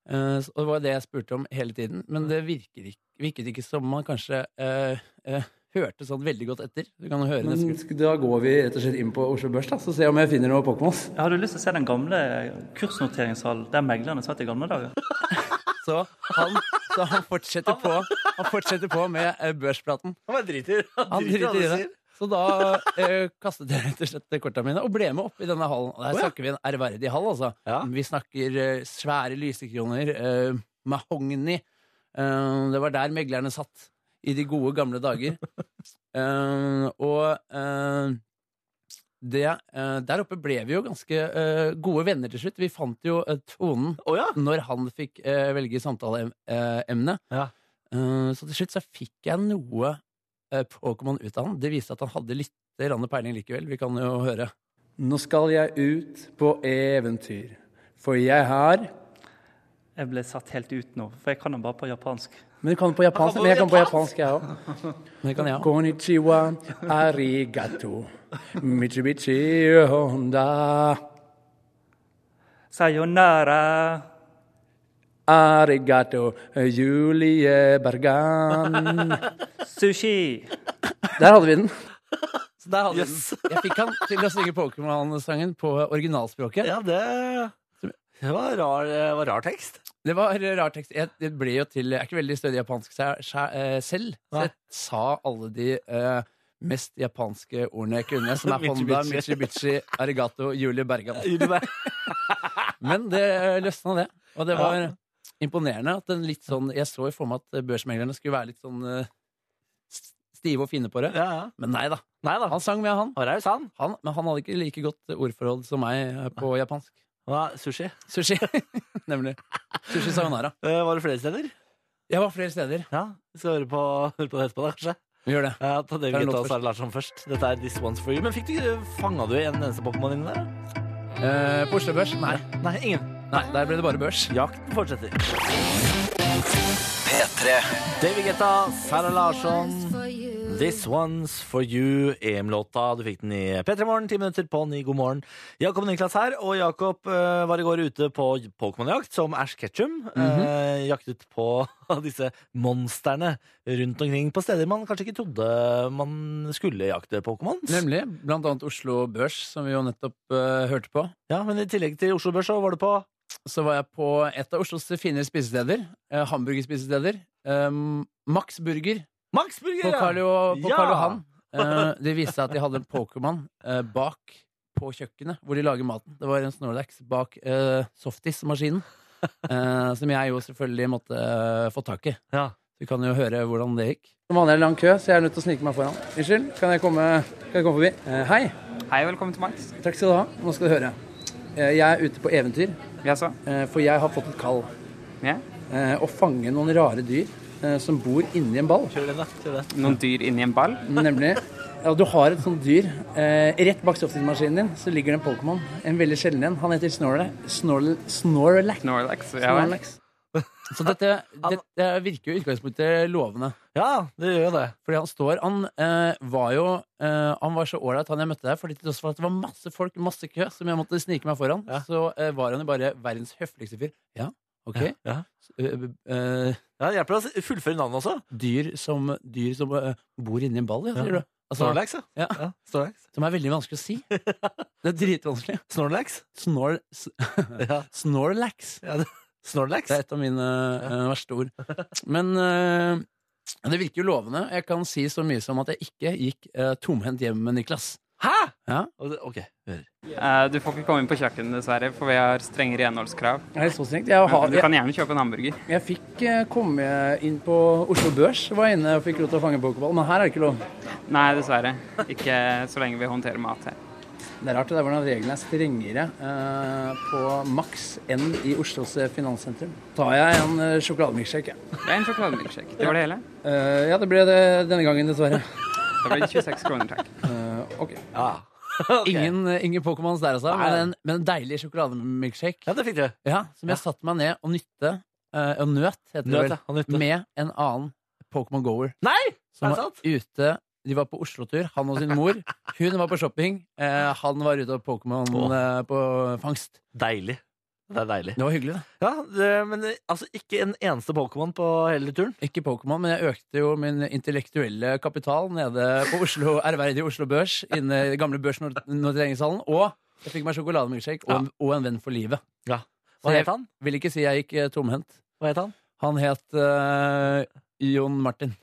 Speaker 3: Eh, så- og det var det jeg spurte om hele tiden. Men det virker ikke, virket ikke som man kanskje eh, eh, hørte sånn veldig godt etter. Du kan jo høre neste gang.
Speaker 6: Da går vi rett og slett inn på Oslo Børs da, så ser jeg om jeg finner noe Pokémons.
Speaker 5: Har du lyst til å se den gamle kursnoteringshallen der meglerne satt i gamle dager?
Speaker 3: Så han, så han, fortsetter, på, han fortsetter på med eh, børspraten.
Speaker 2: Han bare driter.
Speaker 3: Han driter i
Speaker 2: hva du
Speaker 3: det.
Speaker 2: sier.
Speaker 3: Så da eh, kastet jeg rett og slett korta mine og ble med opp i denne hallen. Og her snakker vi en ærverdig hall, altså.
Speaker 2: Ja.
Speaker 3: Vi snakker eh, svære lysekroner, eh, mahogni. Eh, det var der meglerne satt i de gode, gamle dager. Eh, og eh, det, eh, der oppe ble vi jo ganske eh, gode venner til slutt. Vi fant jo eh, tonen
Speaker 2: Å ja.
Speaker 3: når han fikk eh, velge samtaleemne.
Speaker 2: Ja.
Speaker 3: Eh, så til slutt så fikk jeg noe eh, Pokémon ut av han. Det viste at han hadde litt rande peiling likevel. Vi kan jo høre.
Speaker 6: Nå skal jeg ut på eventyr, for jeg har
Speaker 5: Jeg ble satt helt ut nå, for jeg kan den bare på japansk.
Speaker 6: Men du kan på japansk, men jeg kan på japansk, jeg òg.
Speaker 3: Det kan jeg ha.
Speaker 6: Konnichiwa, arigato, michibichi honda,
Speaker 5: Sayonara!
Speaker 6: arigato, Julie Bergan
Speaker 5: Sushi!
Speaker 6: Der hadde vi den.
Speaker 3: Så der hadde vi
Speaker 2: Yes.
Speaker 3: den. Jeg fikk han til å synge Pokémon-sangen på originalspråket.
Speaker 2: Ja, det det var rar, eh, det var rar tekst.
Speaker 3: Det var rar tekst. Jeg, det ble jo til Jeg er ikke veldig stødig i japansk se- se- eh, selv. Så jeg sa alle de eh, mest japanske ordene jeg kunne, som er Honda,
Speaker 2: Mitsubishi.
Speaker 3: Mitsubishi, Arigato, Julie Bergan.
Speaker 2: Gjorde bare-
Speaker 3: Men det eh, løsna, det. Og det var imponerende at den litt sånn Jeg så jo for meg at børsmeglerne skulle være litt sånn eh, s- stive og fine på det.
Speaker 2: Ja, ja.
Speaker 3: Men nei da.
Speaker 2: Nei da.
Speaker 3: Han sang med, han.
Speaker 2: Han var raus, han.
Speaker 3: han. Men han hadde ikke like godt ordforråd som meg eh, på japansk.
Speaker 2: Han var Sushi.
Speaker 3: Sushi. Nemlig. Sushi sayonara.
Speaker 2: Eh, var det flere steder?
Speaker 3: Jeg var flere steder.
Speaker 2: Ja. Vi skal høre på, høre på det etterpå, da, kanskje.
Speaker 3: Vi gjør det.
Speaker 2: Ja, ta det
Speaker 3: Ta en
Speaker 2: vi
Speaker 3: låt
Speaker 2: tar Sara Larsson først. Dette er This One's For You. Men fikk du, fanga du en eneste Pokémon inni der?
Speaker 3: Eh, på Oslo Børs? Nei.
Speaker 2: Nei, ingen.
Speaker 3: nei. Der ble det bare børs.
Speaker 2: Jakten fortsetter.
Speaker 1: P3.
Speaker 2: David Guetta, Sara Larsson. This one's for you, EM-låta. Du fikk den i P3 Morgen, ti minutter på ni. God morgen. Jakob Niklas her, og Jakob eh, var i går ute på Pokémon-jakt som Ash Ketchum.
Speaker 3: Mhm.
Speaker 2: eh, jaktet på disse monstrene rundt omkring på steder man kanskje ikke trodde man skulle jakte Pokémons.
Speaker 3: Nemlig. Blant annet Oslo Børs, som vi jo nettopp eh, hørte på.
Speaker 2: Ja, men i tillegg til Oslo Børs så var det på
Speaker 3: så var jeg på et av Oslos finere spisesteder. Eh, hamburgerspisesteder. Eh, Max Burger
Speaker 2: Max Burger!
Speaker 3: på
Speaker 2: ja.
Speaker 3: Karl, jo, på
Speaker 2: Ja!
Speaker 3: Karl Johan. Eh, det viste seg at de hadde en Pokémon eh, bak på kjøkkenet, hvor de lager maten. Det var en Snorlax bak eh, softis-maskinen, eh, som jeg jo selvfølgelig måtte eh, få tak i.
Speaker 2: Ja.
Speaker 3: Du kan jo høre hvordan det gikk.
Speaker 6: Som vanlig er det lang kø, så jeg er nødt til å snike meg foran. Unnskyld, kan jeg komme, kan jeg komme forbi? Eh, hei.
Speaker 7: Hei, velkommen til Max.
Speaker 6: Takk skal du ha. Nå skal du høre. Eh, jeg er ute på eventyr,
Speaker 7: Jaså?
Speaker 6: eh, for jeg har fått et kall.
Speaker 7: Ja?
Speaker 6: eh, å fange noen rare dyr eh, som bor inni en ball.
Speaker 2: Kjør den, da. Kjør den.
Speaker 7: Noen dyr inni en ball?
Speaker 6: Nemlig ja, Du har et sånt dyr. Eh, rett bak softismaskinen din så ligger det en Pokémon. En veldig sjelden en. Han heter Snorle, Snorl, Snorlax.
Speaker 7: Snorlax? Ja, vel.
Speaker 6: Snorlax.
Speaker 3: Så dette, dette virker jo i utgangspunktet lovende.
Speaker 2: Ja, det gjør jo det.
Speaker 3: Fordi han står Han eh, var jo eh, Han var så ålreit, han jeg møtte der. Fordi til tross for at det var masse folk, masse kø, som jeg måtte snike meg foran,
Speaker 2: Ja.
Speaker 3: så eh, var han jo bare verdens høfligste fyr. Ja, Ok?
Speaker 2: Ja.
Speaker 3: Eh, eh,
Speaker 2: Ja, det hjelper å s- fullføre navnet også.
Speaker 3: dyr som, dyr som eh, bor inni en ball, ja, sier
Speaker 2: Ja.
Speaker 3: du. Altså,
Speaker 2: Snorlax, ja.
Speaker 3: Ja.
Speaker 2: ja Snorlax.
Speaker 3: som er veldig vanskelig å si. Det er dritvanskelig.
Speaker 2: Snorlax.
Speaker 3: Snor, s-
Speaker 2: Ja.
Speaker 3: snorlax.
Speaker 2: Ja, det- Snorlax?
Speaker 3: Det er et av mine eh, verste ord. Men eh, det virker jo lovende. Jeg kan si så mye som at jeg ikke gikk eh, tomhendt hjem med Niklas.
Speaker 2: Hæ?!
Speaker 3: Ja.
Speaker 2: Og det- Ok, hører.
Speaker 7: Eh, Du får ikke komme inn på kjøkkenet, dessverre, for vi har strenge renholdskrav.
Speaker 6: Er det så strengt? Jeg, har,
Speaker 7: Men Du
Speaker 6: jeg,
Speaker 7: kan gjerne kjøpe en hamburger.
Speaker 6: jeg fikk eh, komme inn på Oslo Børs, var jeg inne og fikk lov til å fange pokéball, men her er det ikke lov.
Speaker 7: Nei, dessverre. Ikke så lenge vi håndterer mat her.
Speaker 6: Det er rart det der hvordan reglene er strengere eh, på maks enn i Oslos eh, finanssentrum. Tar jeg en eh, sjokolademilkshake. jeg.
Speaker 7: Det er en sjokolademilkshake. Det var det hele.
Speaker 6: Eh, ja, det ble det denne gangen, dessverre.
Speaker 7: Da ble det 26 kroner, takk.
Speaker 6: Eh, ok.
Speaker 2: Ja.
Speaker 3: Ingen, eh, ingen Pokémons der, altså. Men en, men en deilig sjokolademilkshake
Speaker 2: ja, det fikk dere.
Speaker 3: ja, som jeg satte meg ned og nytte eh, Og nøt, heter det
Speaker 2: Nøt,
Speaker 3: vel.
Speaker 2: ja. Han nytte.
Speaker 3: Med en annen Pokémon Goer.
Speaker 2: Nei!
Speaker 3: Som
Speaker 2: Er det
Speaker 3: var ute De var på Oslo-tur, han og sin mor. Hun var på shopping, eh, han var ute av Pokémon eh, på fangst.
Speaker 2: Deilig. Det er deilig.
Speaker 3: Det var hyggelig, da.
Speaker 2: Ja, det, men det- altså ikke en eneste Pokémon på hele turen.
Speaker 3: Ikke Pokémon, men jeg økte jo min intellektuelle kapital nede på Oslo, ærverdige Oslo Børs, inne i den gamle børsnoteringshallen. Og jeg fikk meg sjokolademilkshake og, en- og en venn for livet.
Speaker 2: Ja.
Speaker 3: Så
Speaker 2: Hva
Speaker 3: jeg
Speaker 2: het han?
Speaker 3: vil ikke si jeg gikk eh, tomhendt.
Speaker 2: Hva het han?
Speaker 3: Han het eh, Jon Martin.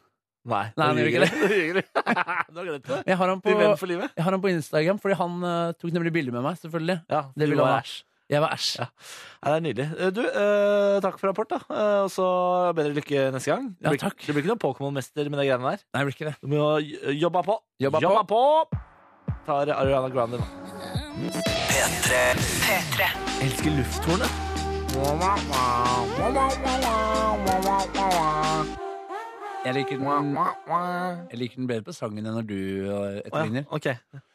Speaker 2: Nei,
Speaker 3: Nei, han
Speaker 2: nå
Speaker 3: gjør
Speaker 2: ljuger
Speaker 3: ikke
Speaker 2: du. Nå ljuger du. Du har glemt det.
Speaker 3: Jeg har han på,
Speaker 2: Din venn for livet.
Speaker 3: jeg har han på Instagram, fordi han eh, tok nemlig bilde med meg, selvfølgelig.
Speaker 2: Ja,
Speaker 3: Det
Speaker 2: du
Speaker 3: ville
Speaker 2: var
Speaker 3: han.
Speaker 2: æsj.
Speaker 3: Jeg var æsj.
Speaker 2: Ja. Nei, det er nydelig. Eh, Du, eh, takk for rapport, da. Eh, og så bedre lykke neste gang. Det
Speaker 3: Ja,
Speaker 2: blir,
Speaker 3: takk.
Speaker 2: Det blir ikke noen Pokémon-mester med de greiene der.
Speaker 3: Nei, det blir ikke det.
Speaker 2: Du må jo jobbe på.
Speaker 3: Jobba på.
Speaker 2: på. Tar Ariana Grande nå. P3. Elsker lufthornet.
Speaker 3: Jeg liker den, jeg liker den bedre på sangen enn når du eh,
Speaker 2: Å ja,
Speaker 3: etterligner.
Speaker 2: ok.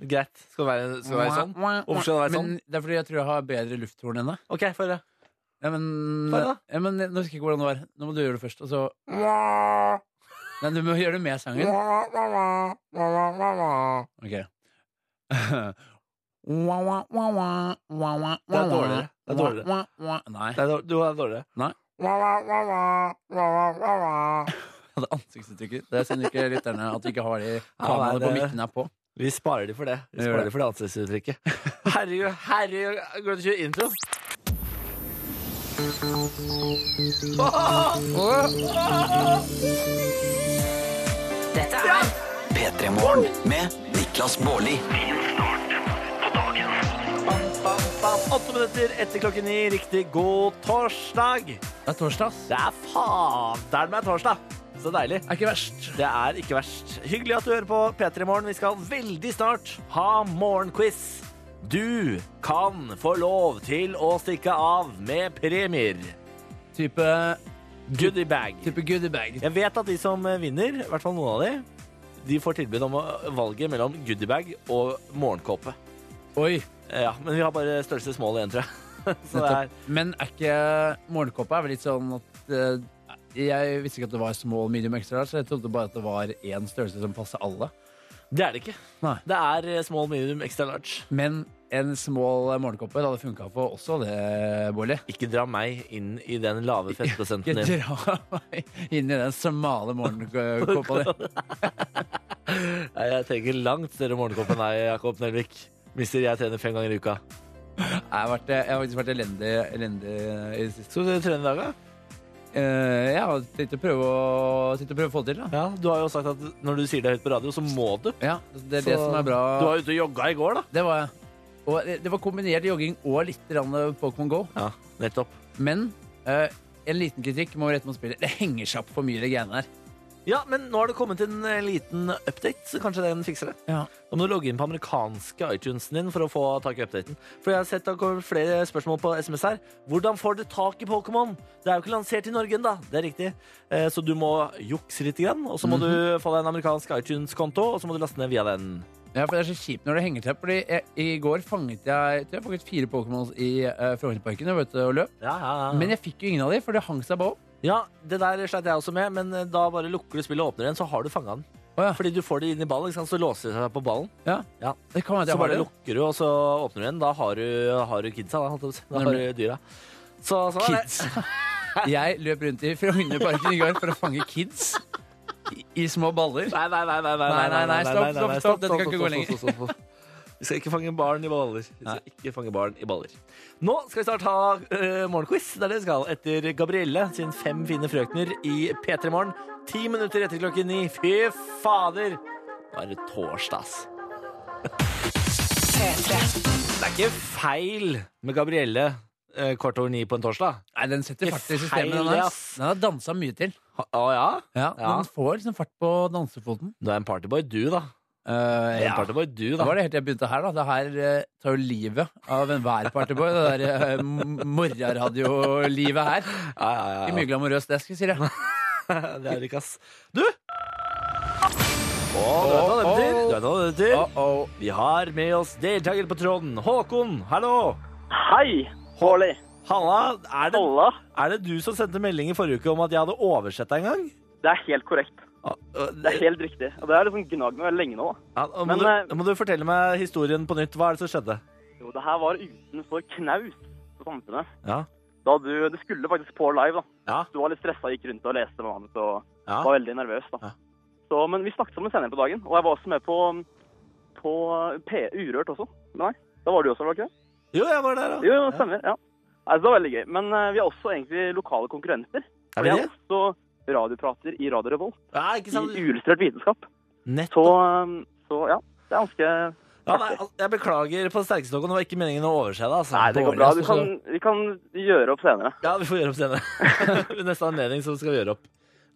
Speaker 2: Greit. Skal det være, skal det være sånn? Hvorfor skal det være sånn?
Speaker 3: Men det er fordi jeg tror jeg har bedre lufthorn enn deg.
Speaker 2: Ok, få høre.
Speaker 3: Ja, men,
Speaker 2: Hva da?
Speaker 3: ja, men Nå husker jeg ikke hvordan det var. Nå må du gjøre det først. Og så Nei, du må gjøre det med sangen. Ok. Det
Speaker 2: er dårligere. Det er dårligere.
Speaker 3: Nei.
Speaker 2: Nei, du er dårligere.
Speaker 3: Det ansiktsuttrykket. Det synd ikke lytterne at vi ikke har de
Speaker 2: nei,
Speaker 3: kameraene på
Speaker 2: det-
Speaker 3: mikken her på.
Speaker 2: Vi sparer de for det. Vi
Speaker 3: Vi gjør
Speaker 2: sparer
Speaker 3: det.
Speaker 2: de for det ansiktsuttrykket. Herregud, herregud. Går det å kjøre intro?
Speaker 1: Dette er P3 Morgen med Niklas Baarli.
Speaker 2: Åtte minutter etter klokken ni. Riktig god torsdag.
Speaker 3: Det er torsdag. ass.
Speaker 2: Det er faderen meg torsdag. Så deilig.
Speaker 3: Det er ikke verst.
Speaker 2: Det er ikke verst. Hyggelig at du hører på P3 Morgen. Vi skal veldig snart ha morgenquiz. Du kan få lov til å stikke av med premier.
Speaker 3: Type,
Speaker 2: Goodiebag.
Speaker 3: type goodiebag.
Speaker 2: Jeg vet at de som vinner, i hvert fall noen av de, de får tilbud om å- valget mellom goodiebag og morgenkåpe.
Speaker 3: Oi.
Speaker 2: Eh, Ja, men vi har bare størrelse small igjen, tror jeg. Så det er
Speaker 3: Men er ikke morgenkåpa er vel litt sånn at eh, Jeg visste ikke at det var small, medium, extra large, så jeg trodde bare at det var én størrelse som passer alle.
Speaker 2: det, er det ikke.
Speaker 3: Nei.
Speaker 2: Det er eh, small, medium, extra large.
Speaker 3: Men en small morgenkåpe det hadde funka for også det, Bolli.
Speaker 2: Ikke dra meg inn i den lave fettprosenten
Speaker 3: Ikke
Speaker 2: din.
Speaker 3: dra meg inn i den smale morgenkåpa di.
Speaker 2: Nei, jeg trenger langt større morgenkopp enn deg, Jakob Nelvik. Mister, jeg trener fem ganger i uka.
Speaker 3: Jeg har vært- jeg har faktisk vært elendig, elendig i det siste.
Speaker 2: Skal du trene i dag, da?
Speaker 3: Eh, Jeg har tenkt å prøve å, tenkt å prøve å få det til, da.
Speaker 2: Ja, du har jo sagt at når du sier det høyt på radio, så må du.
Speaker 3: Ja, det er det
Speaker 2: Så-
Speaker 3: som er bra.
Speaker 2: Du var ute og jogga i går, da.
Speaker 3: Det var jeg. Og det- det var kombinert jogging og litt grann Pokémon Go.
Speaker 2: Ja, nettopp.
Speaker 3: Men eh, en liten kritikk må rette mot spillet. Det henger seg opp for mye, det greiene der.
Speaker 2: Ja, men nå har det kommet en eh, liten update, så kanskje den fikser det.
Speaker 3: Ja.
Speaker 2: Nå må du logge inn på amerikanske iTunesen din for å få tak i updaten. For jeg har sett det kommer flere spørsmål på SMS her. Hvordan får du tak i Pokémon? Det er jo ikke lansert i Norge ennå, det er riktig. Eh, Så du må jukse litt, grann, og
Speaker 3: Mhm.
Speaker 2: så må du få deg en amerikansk iTunes-konto, og så må du laste ned via den.
Speaker 3: for Det er så kjipt når det henger seg opp. Fordi jeg, I går fanget jeg, jeg tror jeg fanget fire Pokémons i uh, Frognerparken jeg var ute og løp.
Speaker 2: Ja, ja, ja.
Speaker 3: Men jeg fikk jo ingen av de, for det hang seg bare opp.
Speaker 2: ja, det der sleit jeg også med, men eh, da bare lukker du spillet og åpner den, så har du fanga den.
Speaker 3: Å ja.
Speaker 2: Fordi du får det inn i ballen, ikke sant? så låser det seg på ballen.
Speaker 3: Ja.
Speaker 2: Ja.
Speaker 3: Det kan være at
Speaker 2: Så
Speaker 3: jeg har
Speaker 2: bare
Speaker 3: det.
Speaker 2: lukker du, og så åpner du den. Da har du, har du kidsa. Da, holdt jeg på å si. da har du dyra. Så, sånn er det.
Speaker 3: Kids. Jeg løp rundt i Frognerparken i går for å fange kids i, i små baller.
Speaker 2: Nei, nei, nei, nei, nei,
Speaker 3: Nei, nei, nei, stopp, stopp, stopp, dette kan ikke gå lenger.
Speaker 2: stopp, stopp, stopp. Vi skal ikke fange barn i baller. Vi skal ikke fange barn i baller. Nå skal vi snart ha eh, morgenquiz. Det er det vi skal. Etter Gabrielle sin Fem fine frøkner i P3 Morgen. Ti minutter etter klokken ni. Fy fader! Nå er det torsdag, ass. Det er ikke feil med Gabrielle eh, kvart over ni på en torsdag.
Speaker 3: Nei, den setter fart i
Speaker 2: Feil,
Speaker 3: systemet. Den, her.
Speaker 2: ass.
Speaker 3: den har dansa mye til.
Speaker 2: Ha- Å ja?
Speaker 3: Ja,
Speaker 2: Ja.
Speaker 3: Den får liksom fart på dansefoten.
Speaker 2: Du er en partyboy, du, da. Du
Speaker 3: Eh,
Speaker 2: er
Speaker 3: ja.
Speaker 2: En partyboy, du,
Speaker 3: Da
Speaker 2: da.
Speaker 3: var det helt til jeg begynte her, da. Det her eh, tar jo livet av enhver partyboy. Det der eh, m- morgenradiolivet her.
Speaker 2: Ja, ja, ja, ja.
Speaker 3: Ikke mye glamorøst, det skal jeg si. det.
Speaker 2: Det er det ikke, ass. Du! du vet hva det betyr. Du vet hva det betyr. Vi har med oss deltaker på tråden. Håkon, hallo!
Speaker 8: Hei, Håli.
Speaker 2: Halla, er det,
Speaker 8: Halla.
Speaker 2: er det du som sendte melding i forrige uke om at jeg hadde oversett deg en gang?
Speaker 8: Det er helt korrekt.
Speaker 2: Ah, øh,
Speaker 8: Det er helt riktig. Og det har liksom gnagd meg veldig lenge nå. da.
Speaker 2: Ja, og må,
Speaker 8: Men, eh,
Speaker 2: du, må du fortelle meg historien på nytt? Hva er det som skjedde?
Speaker 8: Jo, det her var utenfor knaus på Samfunnet.
Speaker 2: Ja.
Speaker 8: Da du, du skulle faktisk på live, da.
Speaker 2: Ja.
Speaker 8: Du var litt stressa, gikk rundt og leste manus og
Speaker 2: Ja.
Speaker 8: var veldig nervøs, da.
Speaker 2: Ja.
Speaker 8: Så, men vi snakket sammen senere på dagen, og jeg var også med på, på P Urørt også. Nei, da var du også, var du ikke det?
Speaker 2: Jo, jeg var der, da.
Speaker 8: Jo, jo, stemmer. Ja. Nei, så det var veldig gøy. Men eh, vi er også egentlig lokale konkurrenter.
Speaker 2: Er
Speaker 8: vi
Speaker 2: vi
Speaker 8: er
Speaker 2: det?
Speaker 8: også radioprater i Radio Revolt,
Speaker 2: Ja, ikke
Speaker 8: i
Speaker 2: sant?
Speaker 8: uillustrert vitenskap. Så,
Speaker 2: Nettopp.
Speaker 8: um, så ja, det er ganske
Speaker 2: Ja, nei, al- jeg beklager på det sterkeste, Håkon. Det var ikke meningen å overse deg. Altså.
Speaker 8: Nei, det går
Speaker 2: Dårlig,
Speaker 8: bra.
Speaker 2: ass.
Speaker 8: Du kan, vi kan gjøre opp senere.
Speaker 2: Ja, vi får gjøre opp senere. Ved neste anledning så skal vi gjøre opp.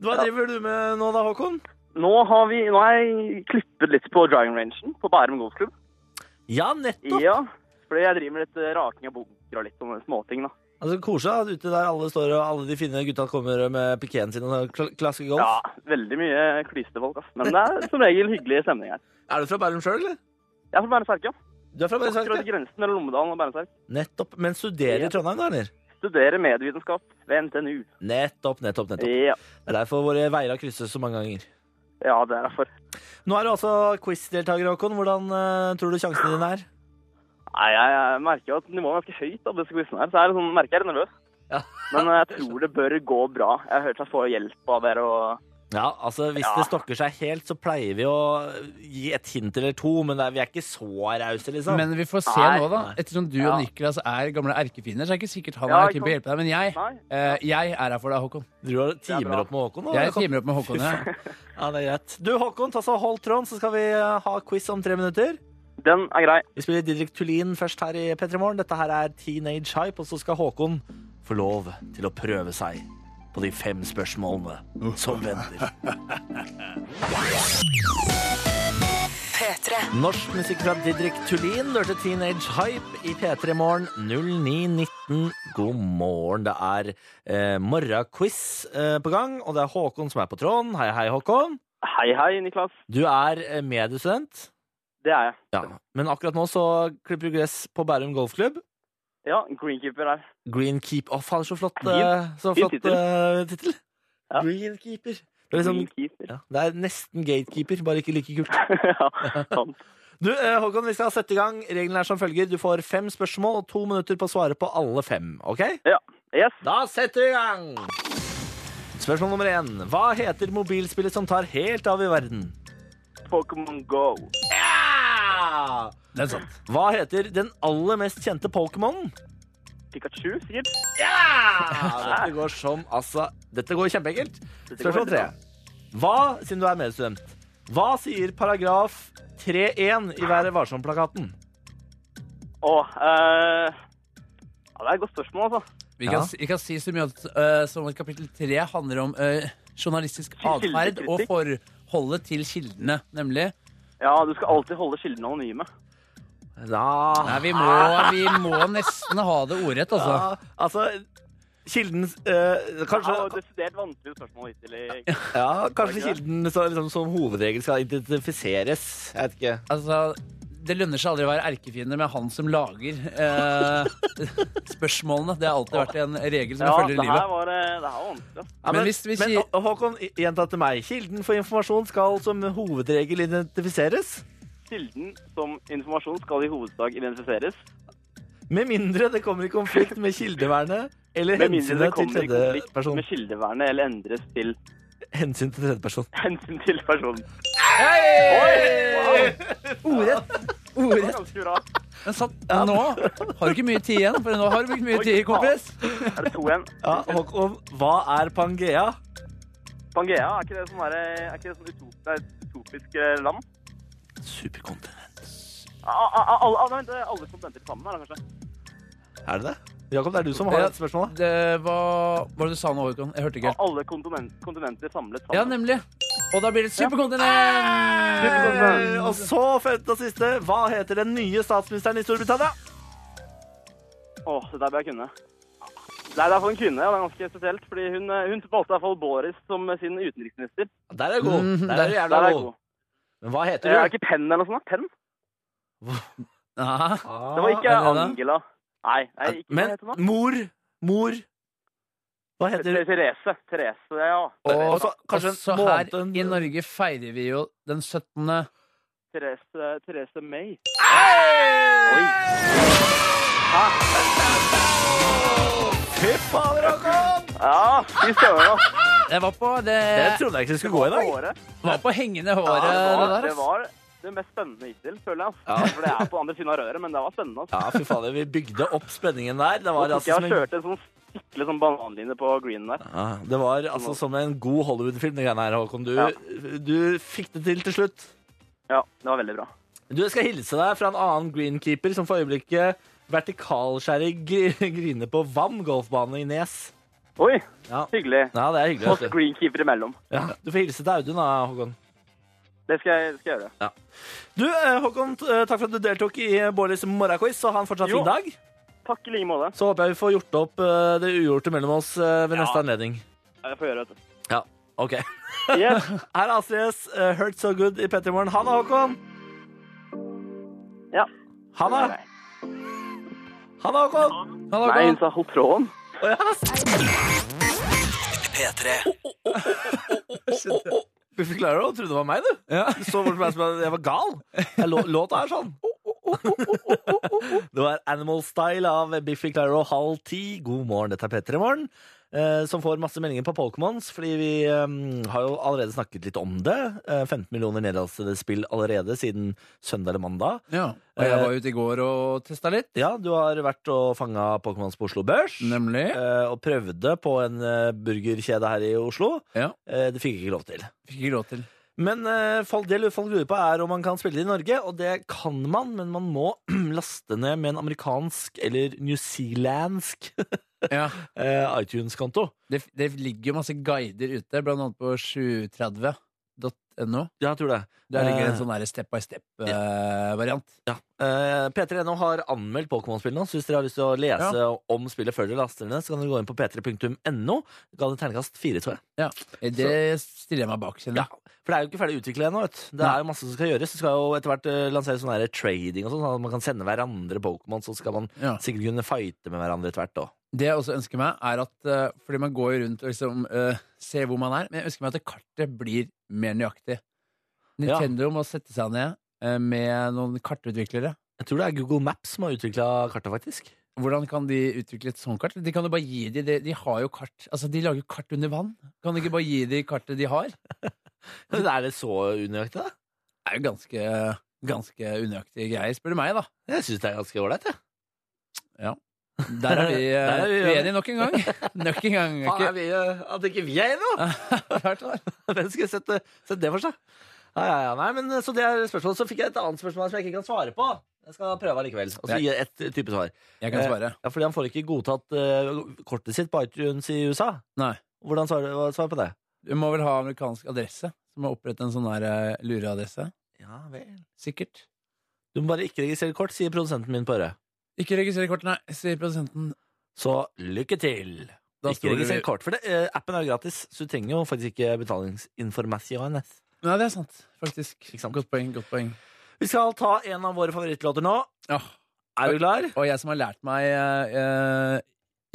Speaker 2: Hva
Speaker 8: Ja.
Speaker 2: driver du med nå da, Håkon?
Speaker 8: Nå har, vi, nå har jeg klippet litt på driving rangen på Bærum golfklubb.
Speaker 2: Ja, nettopp!
Speaker 8: Ja, fordi jeg driver med litt eh, raking av bunker og litt sånne småting, da.
Speaker 2: Altså, Koselig at ute der alle står og alle de fine gutta kommer med piketen sin og kl klasker golf.
Speaker 8: Ja, veldig mye klysete folk, ass. Men det er som regel hyggelig stemning her.
Speaker 2: Er du fra Bærum sjøl, eller?
Speaker 8: Jeg er fra Bærumsverk, ja.
Speaker 2: Du er fra Bærum
Speaker 8: Akkurat
Speaker 2: sjøl?
Speaker 8: grensen mellom Lommedalen og Bærumsverk.
Speaker 2: Nettopp. Men studerer
Speaker 8: Ja.
Speaker 2: i Trondheim, da, eller?
Speaker 8: Studerer medievitenskap ved NTNU.
Speaker 2: Nettopp, nettopp, nettopp.
Speaker 8: Ja,
Speaker 2: Det er derfor våre veier har krysses så mange ganger.
Speaker 8: ja det er derfor.
Speaker 2: Nå er du altså quiz-deltaker, Håkon. Hvordan eh, tror du sjansene dine er?
Speaker 8: Nei, jeg, jeg merker jo at nivået er ganske høyt av disse quizene her, så jeg er sånn, merker jeg er nervøs.
Speaker 2: Ja.
Speaker 8: Men eh, jeg tror det bør gå bra. Jeg har hørt jeg får hjelp av dere og
Speaker 2: Ja, altså Hvis
Speaker 8: Ja.
Speaker 2: det stokker seg helt, så pleier vi å gi et hint eller to, men det er, vi er ikke så rause, liksom.
Speaker 3: Men vi får se
Speaker 8: Nei.
Speaker 3: nå, da. Ettersom du
Speaker 8: Ja.
Speaker 3: og Niklas er gamle erkefiender, så er det ikke sikkert han
Speaker 8: Ja,
Speaker 3: er keen på å
Speaker 8: ikke
Speaker 3: hjelpe deg. Men jeg,
Speaker 8: Nei.
Speaker 3: eh, jeg er her for deg, Håkon.
Speaker 2: Driver og
Speaker 8: er
Speaker 2: timer
Speaker 8: bra.
Speaker 2: opp med Håkon? da?
Speaker 3: Jeg
Speaker 2: Håkon?
Speaker 3: timer opp med Håkon. Jeg.
Speaker 2: Ja, det er greit. Du, Håkon, ta så hold tråden, så skal vi eh, ha quiz om tre minutter.
Speaker 8: Den er grei.
Speaker 2: Vi spiller Didrik Tulin først her i P3 Morgen. Dette her er Teenage Hype, og så skal Håkon få lov til å prøve seg på de fem spørsmålene som venter. Norsk musikk fra Didrik Tulin lørte Teenage Hype i P3 Morgen 0919. God morgen. Det er eh, morgenquiz eh, på gang, og det er Håkon som er på tråden. Hei, hei, Håkon.
Speaker 8: Hei, hei, Niklas.
Speaker 2: Du er eh, mediestudent.
Speaker 8: Det er jeg.
Speaker 2: Ja, men akkurat nå så klipper du gress på Bærum golfklubb.
Speaker 8: Ja, greenkeeper her.
Speaker 2: Greenkeep Å, faen, så flott,
Speaker 8: Fin-
Speaker 2: eh, så
Speaker 8: fin
Speaker 2: flott
Speaker 8: tittel.
Speaker 2: eh, tittel.
Speaker 8: Ja.
Speaker 2: Greenkeeper. Det er, liksom,
Speaker 8: Greenkeeper.
Speaker 2: ja, det er nesten gatekeeper, bare ikke like kult.
Speaker 8: ja, sant.
Speaker 2: Du, eh, Håkon, vi skal sette i gang. Reglene er som følger. Du får fem spørsmål og to minutter på å svare på alle fem. OK?
Speaker 8: Ja. Yes.
Speaker 2: Da setter vi i gang! Spørsmål nummer én. Hva heter mobilspillet som tar helt av i verden?
Speaker 8: Pokémon Go.
Speaker 2: Ja!
Speaker 3: Det er sant.
Speaker 2: Hva heter den aller mest kjente Pokémonen?
Speaker 8: Pikachu, sikkert.
Speaker 2: Ja! Dette går som altså Dette går kjempeenkelt.
Speaker 8: Dette går
Speaker 2: Spørsmål
Speaker 8: veldig
Speaker 2: tre. Hva, siden du er medstudent, hva sier paragraf 3-1 i Være varsom-plakaten?
Speaker 8: Å, eh... ja, det er et godt spørsmål, altså.
Speaker 3: Vi
Speaker 2: Ja.
Speaker 3: kan, si- vi kan si så mye at, eh, som at kapittel tre handler om eh, journalistisk atferd og
Speaker 8: Kildekritikk.
Speaker 3: forholdet til kildene, nemlig.
Speaker 8: Ja, du skal alltid holde kildene anonyme.
Speaker 3: Nei,
Speaker 2: Ja,
Speaker 3: vi må,
Speaker 8: Ah.
Speaker 3: vi må nesten ha det ordrett, altså.
Speaker 2: ja, altså Kilden eh,
Speaker 8: Det var et
Speaker 2: Kanskje,
Speaker 8: desidert vanskelig spørsmål hittil. i-
Speaker 2: ja, kanskje
Speaker 8: Ikke det?
Speaker 2: kilden så, liksom, som hovedregel skal identifiseres. Jeg vet ikke.
Speaker 3: altså det lønner seg aldri å være erkefiende med han som lager eh, spørsmålene. Det har alltid vært en regel som
Speaker 8: Ja,
Speaker 3: jeg følger
Speaker 8: det
Speaker 3: i
Speaker 8: her
Speaker 3: livet.
Speaker 8: var, eh, det her var vanskelig. ass.
Speaker 2: Ja,
Speaker 3: Men hvis vi
Speaker 2: men
Speaker 3: sier-
Speaker 2: Hå- Håkon, i- gjenta til meg. Kilden for informasjon skal som hovedregel identifiseres.
Speaker 8: Kilden som informasjon skal i hovedsak identifiseres.
Speaker 2: Med mindre det kommer i konflikt med kildevernet eller
Speaker 8: Med mindre
Speaker 2: hensynet
Speaker 8: det
Speaker 2: til
Speaker 8: kommer i konflikt
Speaker 2: tredjeperson.
Speaker 8: med kildevernet eller endres til
Speaker 2: Hensyn til tredjeperson.
Speaker 8: hensyn til personen.
Speaker 3: Ordrett. Ordrett.
Speaker 8: Ganske bra.
Speaker 3: Men sant, nå har du ikke mye tid igjen, for nå har du brukt mye tid, kompis.
Speaker 8: Er det to igjen?
Speaker 2: Ja, Håkon, hva er Pangea?
Speaker 8: Pangea, er ikke det sånn derre- er ikke det sånn utop, nei, utopisk eh, land?
Speaker 2: Superkontinent.
Speaker 8: Ah, ah, ah, alle, ah, nei, vent, det er alle kontinenter sammen her, da, kanskje?
Speaker 2: Er det det? Jakob, det er du som har
Speaker 3: Ja.
Speaker 2: et spørsmål. da.
Speaker 3: Det var Hva var det du sa nå, Håkon? Jeg hørte ikke
Speaker 8: Ah,
Speaker 3: helt.
Speaker 8: Alle kontinent, kontinenter samlet
Speaker 3: Ja,
Speaker 8: sammen.
Speaker 3: nemlig. Og da blir det et superkontinent!
Speaker 2: Eh, Og så femte og siste. Hva heter den nye statsministeren i Storbritannia?
Speaker 8: Åh, det der bør jeg kunne. Nei, det er for en kvinne, og det er ganske spesielt, fordi hun, eh, hun valgte i hvert fall Boris som sin utenriksminister.
Speaker 2: Der er du god. Der er du
Speaker 3: Mhm,
Speaker 8: Der er
Speaker 2: jævla
Speaker 8: jeg
Speaker 2: god.
Speaker 8: god.
Speaker 2: Men hva
Speaker 8: Eh, Er
Speaker 2: heter
Speaker 8: det
Speaker 2: du?
Speaker 8: ikke Penn eller noe sånt? da? Penn?
Speaker 3: Nei.
Speaker 8: Det
Speaker 2: Ah,
Speaker 8: var
Speaker 3: er
Speaker 8: ikke
Speaker 3: det det?
Speaker 8: Angela. Nei, nei ikke hva
Speaker 2: Men
Speaker 8: heter hun da?
Speaker 2: mor Mor Hva heter
Speaker 8: Ther- Therese. Therese, ja.
Speaker 3: Og
Speaker 2: Og så kanskje
Speaker 3: også
Speaker 2: en
Speaker 3: her
Speaker 2: måned-
Speaker 3: i Norge feirer vi jo den 17.
Speaker 8: Therese, Therese May.
Speaker 2: Fy fader, Håkon!
Speaker 8: Ja, vi stemmer da.
Speaker 3: Jeg var på det,
Speaker 2: Det trodde jeg ikke skulle gå i dag.
Speaker 8: Året.
Speaker 3: var på hengende håret.
Speaker 8: det,
Speaker 3: det
Speaker 8: var,
Speaker 3: der,
Speaker 8: det
Speaker 3: ass.
Speaker 8: var det mest spennende hittil, føler jeg.
Speaker 2: Ja.
Speaker 8: Ja. For det er på andre siden av røret, men det var spennende. Altså.
Speaker 2: Ja, fy fader, vi bygde opp spenningen der. Det var
Speaker 8: Nå tok
Speaker 2: altså
Speaker 8: jeg
Speaker 2: som
Speaker 8: og
Speaker 2: en,
Speaker 8: kjørte en sånn skikkelig sånn bananlinje på greenen der.
Speaker 2: ja, det var altså som en god Hollywood-film, det greiene her, Håkon. Du,
Speaker 8: Ja.
Speaker 2: du fikk det til til slutt.
Speaker 8: Ja, det var veldig bra.
Speaker 2: Du, jeg skal hilse deg fra en annen greenkeeper som for øyeblikket vertikalskjærer gri- griner på Vam golfbane i Nes.
Speaker 8: Oi,
Speaker 2: Ja.
Speaker 8: hyggelig.
Speaker 2: Ja, det er
Speaker 8: Og
Speaker 2: hyggelig. Vet du.
Speaker 8: greenkeeper imellom.
Speaker 2: Ja, du får hilse til Audun, da, Håkon.
Speaker 8: Det skal jeg, skal jeg gjøre.
Speaker 2: Du, eh, Håkon, t- eh, takk for at du deltok i eh, Bårdis morgenquiz, og ha en fortsatt
Speaker 8: Jo.
Speaker 2: fin dag.
Speaker 8: Takk i like måte.
Speaker 2: Så håper jeg vi får gjort opp eh, det ugjorte mellom oss eh, ved neste anledning.
Speaker 8: Jeg får gjøre det.
Speaker 2: Ok.
Speaker 8: Yes.
Speaker 2: Her er Astrid S. eh, Hurt So Good i P3 Morgen. Ha det, Håkon.
Speaker 8: Ja.
Speaker 2: Ha det. Ha det, Håkon.
Speaker 3: Han var
Speaker 8: Nei,
Speaker 3: god.
Speaker 8: hun sa hold tråden.
Speaker 1: P3.
Speaker 2: Buffer Claro trodde det var meg, du. Du så bort på meg som om jeg var gal. Jeg lå, låta er sånn. Det var Animal Style av Biffy Claro halv ti. God morgen, dette er P3 Morgen. eh, Som får masse meldinger på Pokémons, fordi vi eh, har jo allerede snakket litt om det. Eh, 15 millioner nedlastede spill allerede siden søndag eller mandag.
Speaker 3: Ja. Og jeg var ute i går og testa litt,
Speaker 2: Ja, du har vært og fanga Pokémons på Oslo Børs.
Speaker 3: nemlig.
Speaker 2: eh, Og prøvde på en eh, burgerkjede her i Oslo.
Speaker 3: Ja.
Speaker 2: Eh, Det fikk jeg ikke lov til.
Speaker 3: Fikk ikke råd til.
Speaker 2: Men eh, folk- det folk lurer på, er om man kan spille det i Norge. Og det kan man, men man må laste ned med en amerikansk eller newzealandsk
Speaker 3: Ja.
Speaker 2: eh, iTunes-konto.
Speaker 3: Det, det ligger jo masse guider ute, blant annet på 730.no.
Speaker 2: Ja, jeg tror det.
Speaker 3: Der ligger
Speaker 2: Eh.
Speaker 3: en sånn step by step-variant.
Speaker 2: Ja. Eh, P3.no har anmeldt Pokémon-spill nå, så hvis dere har lyst til å lese om spillet før dere laster det ned, så kan dere gå inn på p3.no. Ga det terningkast fire, tror jeg.
Speaker 3: Eh, Det stiller jeg meg bak, kjenner
Speaker 2: Ja, for det er jo ikke ferdig utviklet ennå. vet du. Det
Speaker 3: Nei.
Speaker 2: er jo masse som skal gjøres. Det skal jo etter hvert eh, lanseres sånn her trading og sånn, sånn at man kan sende hverandre Pokémon, så skal man
Speaker 3: jeg. Ja.
Speaker 2: sikkert kunne fighte med hverandre etter hvert da.
Speaker 3: Det jeg også ønsker meg, er at eh, Fordi man går jo rundt og liksom eh, ser hvor man er, men jeg ønsker meg at kartet blir mer nøyaktig. Nintendo må sette seg ned eh, med noen kartutviklere.
Speaker 2: Jeg tror det er Google Maps som har utviklet kartet, faktisk.
Speaker 3: Hvordan kan de utvikle et sånt kart? De kan jo bare gi de, de, de har jo kart Altså, de lager jo kart under vann. Kan de ikke bare gi de kartet de har?
Speaker 2: Men er det så unøyaktig, da?
Speaker 3: Det er jo ganske, ganske unøyaktige greier, spør du meg, da.
Speaker 2: Jeg synes det er ganske ålreit, jeg.
Speaker 3: Der er vi eh,
Speaker 2: Der er vi
Speaker 3: uenige nok en gang. Nok en gang.
Speaker 2: Faen, er
Speaker 3: Ikke,
Speaker 2: vi, eh, at ikke vi er enige, da!
Speaker 3: Klart det.
Speaker 2: Hvem skulle sett, det- sett det for seg? Ja, ja, ja. Nei, men eh, Så det er spørsmålet. Så fikk jeg et annet spørsmål som jeg ikke kan svare på. Jeg skal prøve likevel, og så gi et type svar.
Speaker 3: jeg kan svare.
Speaker 2: Ja, fordi han får ikke godtatt eh, kortet sitt på iTunes i USA.
Speaker 3: Nei.
Speaker 2: Hvordan svarer du svar på det?
Speaker 3: Du må vel ha amerikansk adresse? Så må jeg opprette en sånn der eh, lureadresse?
Speaker 2: Ja vel.
Speaker 3: Sikkert.
Speaker 2: Du må bare ikke registrere kort, sier produsenten min på øret.
Speaker 3: Ikke registrer kort, nei, sier produsenten.
Speaker 2: Så lykke til!
Speaker 3: Da
Speaker 2: ikke
Speaker 3: står det
Speaker 2: registrer
Speaker 3: vi-
Speaker 2: kort, for det, eh, appen er jo gratis, så du trenger jo faktisk ikke betalingsinformasjon.
Speaker 3: Nei, det er sant, faktisk.
Speaker 2: Ikke sant?
Speaker 3: Godt poeng. godt poeng.
Speaker 2: Vi skal ta en av våre favorittlåter nå.
Speaker 3: Ja.
Speaker 2: Er du klar?
Speaker 3: Og jeg som har lært meg eh, eh,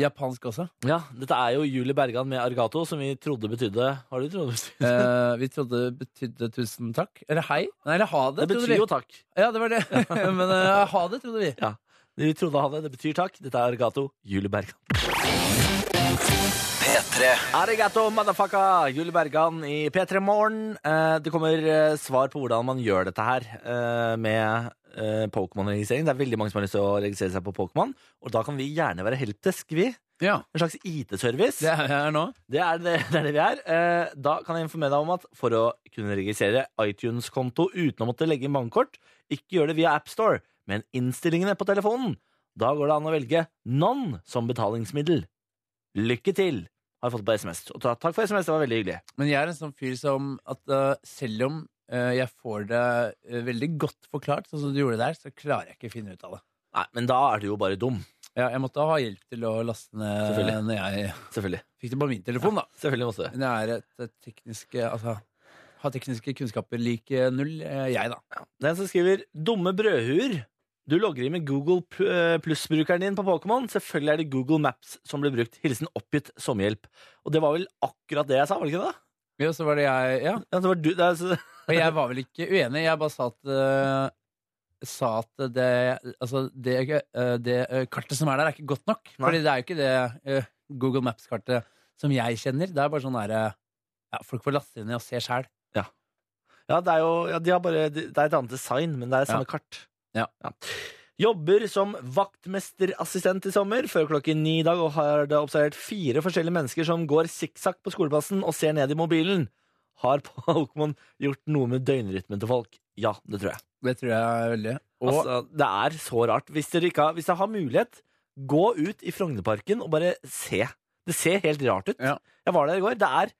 Speaker 3: japansk også.
Speaker 2: Ja, Dette er jo Julie Bergan med Argato, som vi trodde betydde Har du trodd det betydde?
Speaker 3: Eh, vi trodde det betydde tusen takk. Eller hei. Nei, eller ha det.
Speaker 2: Det
Speaker 3: trodde
Speaker 2: betyr
Speaker 3: vi.
Speaker 2: jo takk.
Speaker 3: Ja, det var det. Men eh, ha det, trodde vi.
Speaker 2: Vi trodde han det. Det betyr takk. Dette er Arigato. Julie Bergan.
Speaker 1: P3.
Speaker 2: Arigato, motherfucka! Julie Bergan i P3 Morgen. Eh, det kommer eh, svar på hvordan man gjør dette her eh, med eh, Pokémon-registrering. Det er veldig mange som har lyst til å registrere seg på Pokémon, og da kan vi gjerne være helpdesk, vi.
Speaker 3: Ja,
Speaker 2: En slags IT-service.
Speaker 3: det er jeg nå.
Speaker 2: Det er det, det er det vi er. Eh, Da kan jeg informere deg om at for å kunne registrere iTunes-konto uten å måtte legge inn bankkort, ikke gjør det via AppStore, men innstillingene på telefonen. Da går det an å velge None som betalingsmiddel. Lykke til, har jeg fått på SMS. Og ta- takk for SMS, det var veldig hyggelig.
Speaker 3: Men jeg er en sånn fyr som at eh, selv om eh, jeg får det eh, veldig godt forklart, sånn som du gjorde der, så klarer jeg ikke å finne ut av det.
Speaker 2: Nei, men da er du jo bare dum.
Speaker 3: Ja, jeg måtte ha hjelp til å laste ned
Speaker 2: Selvfølgelig.
Speaker 3: når jeg
Speaker 2: Selvfølgelig.
Speaker 3: fikk det på min telefon, da.
Speaker 2: Selvfølgelig måtte du.
Speaker 3: Men jeg er et eh, teknisk eh, Altså har tekniske kunnskaper lik eh, null, eh, jeg, da.
Speaker 2: Den som skriver 'dumme brødhuer'. Du logger inn med Google pl- eh, pluss-brukeren din på Pokémon. Selvfølgelig er det Google Maps som ble brukt. Hilsen oppgitt sommerhjelp. Og det var vel akkurat det jeg sa, var det ikke det?
Speaker 3: Ja, så var det jeg, ja.
Speaker 2: Ja, det var du, det er, så,
Speaker 3: Og jeg var vel ikke uenig, jeg bare sa at eh, Sa at det Altså, det, eh, det eh, kartet som er der, er ikke godt nok.
Speaker 2: Nei.
Speaker 3: Fordi det er jo ikke det eh, Google Maps-kartet som jeg kjenner. Det er bare sånn derre ja, Folk får laste det ned og se sjæl.
Speaker 2: ja, det er jo ja, de har bare, de- Det er et annet design, men det er samme kart.
Speaker 3: Ja.
Speaker 2: Jobber som vaktmesterassistent i sommer før klokken ni i dag og har da observert fire forskjellige mennesker som går sikksakk på skoleplassen og ser ned i mobilen. Har Pokémon gjort noe med døgnrytmen til folk? Ja, det tror jeg.
Speaker 3: Det tror jeg veldig. Og
Speaker 2: altså, det er så rart. Hvis dere, ikke har, hvis dere har mulighet, gå ut i Frognerparken og bare se. Det ser helt rart ut.
Speaker 3: Ja.
Speaker 2: Jeg var der i går. Det er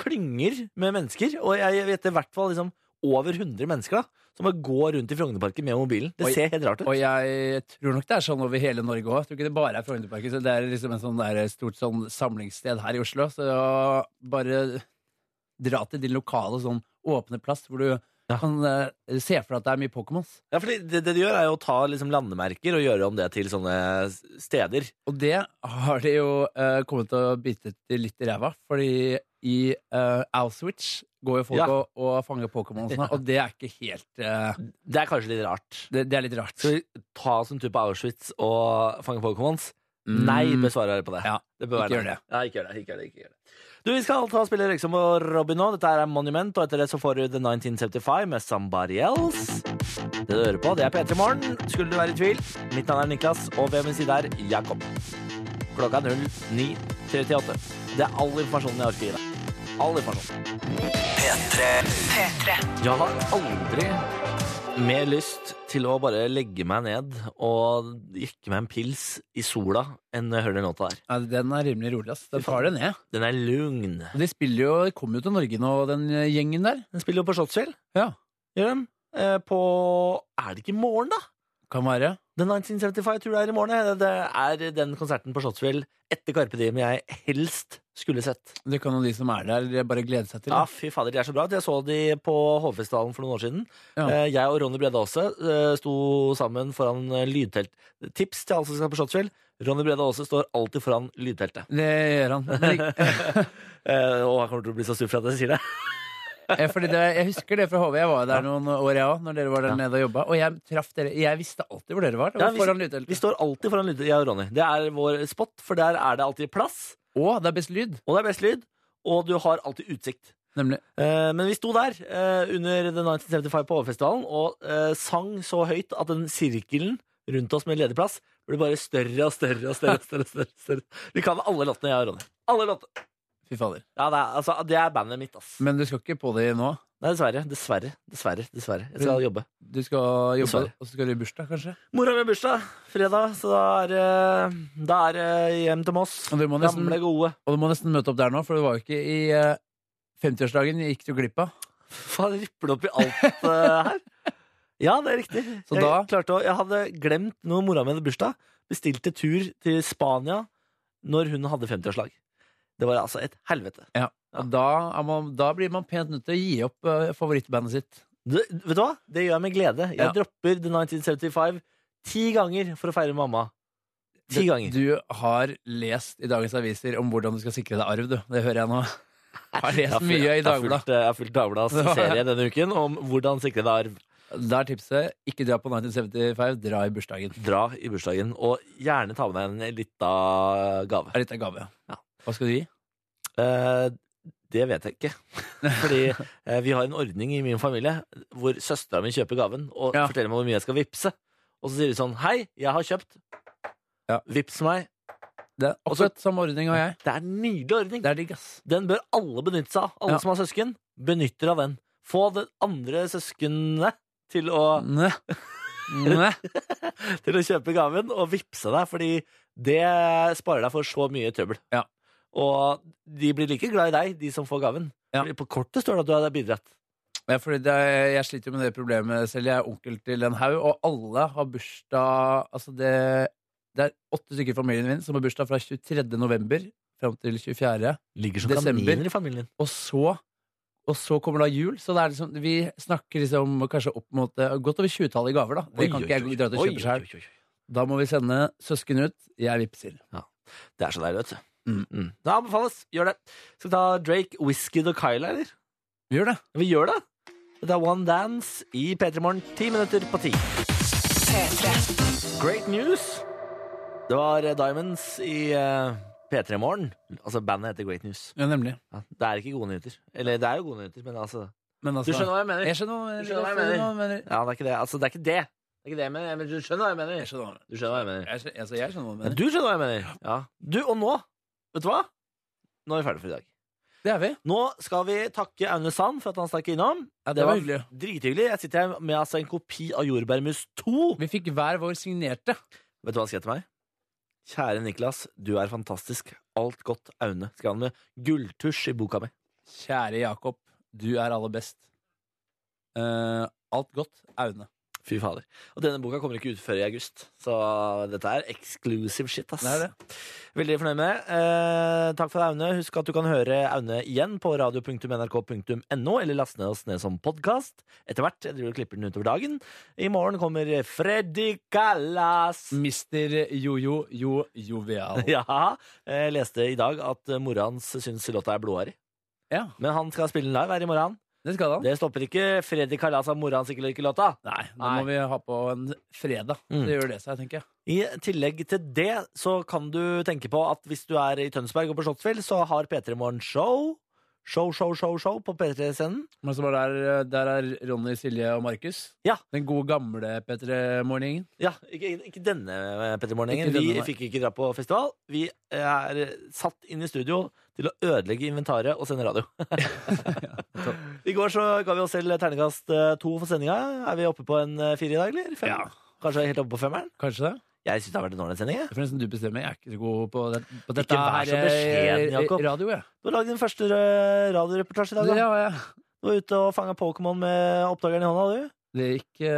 Speaker 2: klynger med mennesker, og jeg vet det i hvert fall liksom, over 100 mennesker da, som bare går rundt i Frognerparken med mobilen. Det
Speaker 3: Oi.
Speaker 2: ser helt rart ut.
Speaker 3: Og jeg tror nok det er sånn over hele Norge òg. Tror ikke det bare er Frognerparken. så Det er liksom en sånn der stort sånn samlingssted her i Oslo. Så bare dra til din lokale sånn åpne plass hvor du kan eh, se for deg at det er mye Pokémons.
Speaker 2: Ja, fordi det, det de gjør, er jo å ta liksom, landemerker og gjøre om det til sånne s- steder.
Speaker 3: Og det har de jo eh, kommet til å bite de litt i ræva, fordi i eh, Auschwitz går jo folk
Speaker 2: Ja.
Speaker 3: og, og fanger Pokémon og sånn, og det er ikke helt eh,
Speaker 2: Det er kanskje litt rart.
Speaker 3: det, det er litt rart.
Speaker 2: Skal vi ta oss en tur på Auschwitz og fange Pokémons? Nei,
Speaker 3: Mm.
Speaker 2: besvarer jeg på det.
Speaker 3: Ja,
Speaker 2: det bør
Speaker 3: ikke
Speaker 2: være
Speaker 3: gjør
Speaker 2: nei. Ja, ikke gjør det. Ikke gjør det, ikke gjør det. Du, Vi skal ta og spille Rexham og Robin nå. Dette her er Monument, og etter det så får du The 1975 med Somebody Else. Det du hører på, det er P3 Morgen. Skulle du være i tvil, mitt navn er Niklas, og ved min side er Jakob. Klokka er 09.38. Det er all informasjonen jeg orker å gi deg. All informasjon. Jeg har aldri mer lyst til å bare legge meg ned og jekke meg en pils i sola enn når jeg hører den låta der.
Speaker 3: Ja, den er rimelig rolig, ass. Den tar det ned.
Speaker 2: Den er lugn.
Speaker 3: Og De spiller jo, de kommer jo til Norge nå, den gjengen der.
Speaker 2: Den spiller jo på Slottsfjell.
Speaker 3: Ja.
Speaker 2: Gjør dem. Eh, på Er det ikke i morgen, da?
Speaker 3: Kan være.
Speaker 2: The 1975 jeg tror det er i morgen. jeg. Det er den konserten på Slottsfjell etter Carpe Diem jeg helst skulle sett.
Speaker 3: Det kan jo de som er der, bare glede seg til.
Speaker 2: Ja,
Speaker 3: da.
Speaker 2: fy fader, de er så bra. Jeg så de på Hovfestivalen for noen år siden.
Speaker 3: Ja.
Speaker 2: Eh, Jeg og Ronny Brede Aase eh, sto sammen foran eh, lydtelt. Tips til alle som skal på Slottsfjell. Ronny Brede Aase står alltid foran lydteltet.
Speaker 3: Det gjør han. Men,
Speaker 2: Eh, og han kommer til å bli så sur for at jeg sier det.
Speaker 3: eh, fordi det, jeg husker det fra HV. Jeg var der noen år, jeg òg, når dere var der
Speaker 2: Ja.
Speaker 3: nede og jobba. Og jeg traff dere. Jeg visste alltid hvor dere var. Det
Speaker 2: Ja,
Speaker 3: var
Speaker 2: vi-
Speaker 3: foran
Speaker 2: Vi
Speaker 3: lydteltet.
Speaker 2: står alltid foran lydteltet, jeg og Ronny. Det er vår spot, for der er det alltid plass,
Speaker 3: Å, det er best lyd.
Speaker 2: og det er best lyd, og du har alltid utsikt.
Speaker 3: Nemlig.
Speaker 2: Eh, men vi sto der eh, under The 1975 på Overfestivalen og eh, sang så høyt at den sirkelen rundt oss med ledig plass ble bare større og større og større. og større, og større, og større. Vi kan alle låtene, jeg og Ronny. Alle låtene.
Speaker 3: Fy fader.
Speaker 2: Ja, det er, altså, det er bandet mitt, ass.
Speaker 3: Men du skal ikke på det nå.
Speaker 2: Nei, dessverre. Dessverre. Dessverre. dessverre. Jeg skal jobbe.
Speaker 3: Du skal jobbe,
Speaker 2: Dessverre.
Speaker 3: og så skal du i bursdag, kanskje.
Speaker 2: Mora mi har bursdag fredag, så da er det da er, det hjem til Moss.
Speaker 3: Og du må nesten,
Speaker 2: Gamle, gode.
Speaker 3: og du må nesten møte opp der nå, for du var jo ikke i eh, 50-årsdagen gikk du glipp av.
Speaker 2: Faen, ripper det opp i alt eh, her? Ja, det er riktig.
Speaker 3: Så
Speaker 2: jeg,
Speaker 3: da-
Speaker 2: klarte å, jeg hadde glemt når mora mi hadde bursdag. Bestilte tur til Spania når hun hadde 50-årslag. Det var altså et helvete. Ja.
Speaker 3: Og da, er man, da blir man pent nødt til å gi opp eh, favorittbandet sitt.
Speaker 2: Du, vet du hva? Det gjør jeg med glede. Jeg
Speaker 3: Ja.
Speaker 2: dropper The 1975 ti ganger for å feire mamma. Ti
Speaker 3: Du-
Speaker 2: ganger.
Speaker 3: Du har lest i dagens aviser om hvordan du skal sikre deg arv, du. Det hører jeg nå. Har lest
Speaker 2: Jeg har
Speaker 3: mye i
Speaker 2: fulgt- jeg har
Speaker 3: Dagbladet.
Speaker 2: fulgt- Jeg har fulgt Dagbladets serie denne uken om hvordan sikre deg arv.
Speaker 3: Da er tipset ikke dra på 1975, dra i bursdagen.
Speaker 2: Dra i bursdagen, og gjerne ta med deg en lita gave.
Speaker 3: Det er litt av gave.
Speaker 2: Ja.
Speaker 3: Hva skal du gi?
Speaker 2: Eh, det vet jeg ikke. Fordi eh, vi har en ordning i min familie hvor søstera mi kjøper gaven og
Speaker 3: Ja.
Speaker 2: forteller meg hvor mye jeg skal vippse. Og så sier de sånn Hei, jeg har kjøpt.
Speaker 3: Ja.
Speaker 2: Vips meg.
Speaker 3: Det er
Speaker 2: Også-
Speaker 3: akkurat samme ordning har jeg.
Speaker 2: Det er en nydelig ordning.
Speaker 3: Det er digg, ass.
Speaker 2: Den bør alle benytte seg av. Alle
Speaker 3: Ja.
Speaker 2: som har søsken, benytter av den. Få det andre søskenet til å,
Speaker 3: Nei. Nei. Mm.
Speaker 2: til å kjøpe gaven og vippse deg, fordi det sparer deg for så mye trøbbel.
Speaker 3: Ja.
Speaker 2: Og de blir like glad i deg, de som får gaven.
Speaker 3: Ja.
Speaker 2: Fordi På kortet står det at du har bidratt.
Speaker 3: Ja, fordi det er, jeg sliter jo med det problemet selv. Jeg er onkel til en haug, og alle har bursdag Altså, det, det er åtte stykker i familien min som har bursdag fra 23. november fram til 24.
Speaker 2: Ligger som
Speaker 3: Desember.
Speaker 2: kaniner i familien.
Speaker 3: Og så og så kommer da jul, så det er liksom, vi snakker liksom kanskje opp mot eh, godt over 20-tallet i gaver. Da Det
Speaker 2: Oi,
Speaker 3: kan
Speaker 2: oi,
Speaker 3: ikke
Speaker 2: oi.
Speaker 3: jeg dra til å
Speaker 2: Oi,
Speaker 3: kjøpe selv.
Speaker 2: oi, oi, oi.
Speaker 3: Da må vi sende søsken ut. Jeg vippser.
Speaker 2: Det er så deilig, vet du.
Speaker 3: Mm.
Speaker 2: Mm. Det anbefales. Gjør det. Skal vi ta Drake, Whisky og Kyla, eller?
Speaker 3: Vi gjør det.
Speaker 2: Vi gjør det. Det er One Dance i P3 Morgen, ti minutter på ti. Great news. Det var eh, Diamonds i eh, P3 Morgen. Altså, bandet heter Great News.
Speaker 3: Ja, nemlig.
Speaker 2: Ja, det er ikke gode nyheter. Eller, det er jo gode nyheter, men altså
Speaker 3: Men
Speaker 2: Du
Speaker 3: altså
Speaker 2: skjønner hva jeg mener?
Speaker 3: Jeg skjønner hva jeg
Speaker 2: Du skjønner hva jeg
Speaker 3: skjønner
Speaker 2: mener.
Speaker 3: hva jeg mener.
Speaker 2: Ja, det er ikke det. Altså, det er ikke det. Det er ikke det jeg mener, men du skjønner hva jeg mener.
Speaker 3: Jeg skjønner hva jeg mener.
Speaker 2: Du skjønner hva jeg mener.
Speaker 3: Jeg skjønner, altså, jeg skjønner hva
Speaker 2: Ja,
Speaker 3: jeg mener.
Speaker 2: du skjønner hva jeg mener. Ja. Du, og nå, vet du hva? Nå er vi ferdige for i dag.
Speaker 3: Det er vi.
Speaker 2: Nå skal vi takke Aune Sand for at han stakk innom.
Speaker 3: Ja, det var hyggelig.
Speaker 2: Drithyggelig. Jeg sitter her med altså, en kopi av Jordbærmus 2.
Speaker 3: Vi fikk hver vår signerte.
Speaker 2: Vet du hva han skrev til meg? Kjære Niklas, du er fantastisk. Alt godt, Aune. Skrev han med gulltusj i boka mi.
Speaker 3: Kjære Jakob, du er aller best. Eh, alt godt, Aune.
Speaker 2: Fy fader. Og denne boka kommer ikke ut før i august, så dette er exclusive shit, ass.
Speaker 3: Det er det.
Speaker 2: Veldig fornøyd med det. Eh, takk for det, Aune. Husk at du kan høre Aune igjen på radio.nrk.no, eller laste ned oss ned som podkast. Etter hvert. Jeg driver og klipper den utover dagen. I morgen kommer Freddy Kalas.
Speaker 3: Mm. Mister Jojo Jo Jovial.
Speaker 2: Ja, jeg leste i dag at mora hans syns låta er blodårig.
Speaker 3: Ja,
Speaker 2: Men han skal spille den live her i morgen.
Speaker 3: det skal han.
Speaker 2: Det stopper ikke Freddy Kalas av mora hans ikke liker låta.
Speaker 3: Nei, da
Speaker 2: Nei.
Speaker 3: må vi ha på en fredag.
Speaker 2: Mm.
Speaker 3: Det gjør det seg, tenker jeg.
Speaker 2: I tillegg til det så kan du tenke på at hvis du er i Tønsberg og på Slottsfjell, så har P3 Morgen show. Show, show, show, show på P3-scenen.
Speaker 3: Men så var der, der er Ronny, Silje og Markus.
Speaker 2: Ja.
Speaker 3: Den gode gamle P3-morgenen.
Speaker 2: Ja, ikke, ikke denne eh, Petter Morningen.
Speaker 3: Ikke denne,
Speaker 2: Vi
Speaker 3: nei.
Speaker 2: fikk ikke dra på festival. Vi eh, er satt inn i studio til å ødelegge inventaret og sende radio. I går så ga vi oss selv terningkast eh, to for sendinga. Er vi oppe på en eh, fire i dag, eller? Fem?
Speaker 3: Ja.
Speaker 2: Kanskje helt oppe på femmeren?
Speaker 3: Kanskje det?
Speaker 2: Jeg syns det har vært en ålreit sending. jeg.
Speaker 3: For den som du bestemmer, jeg er ikke så god på, det, på dette.
Speaker 2: vær så
Speaker 3: her, eh,
Speaker 2: beskjeden, Jakob.
Speaker 3: Radio, ja.
Speaker 2: Du har lagd din første eh, radioreportasje i dag. Da.
Speaker 3: ja, ja.
Speaker 2: Du var ute og fanga Pokémon med oppdageren i hånda, du.
Speaker 3: Det gikk, eh,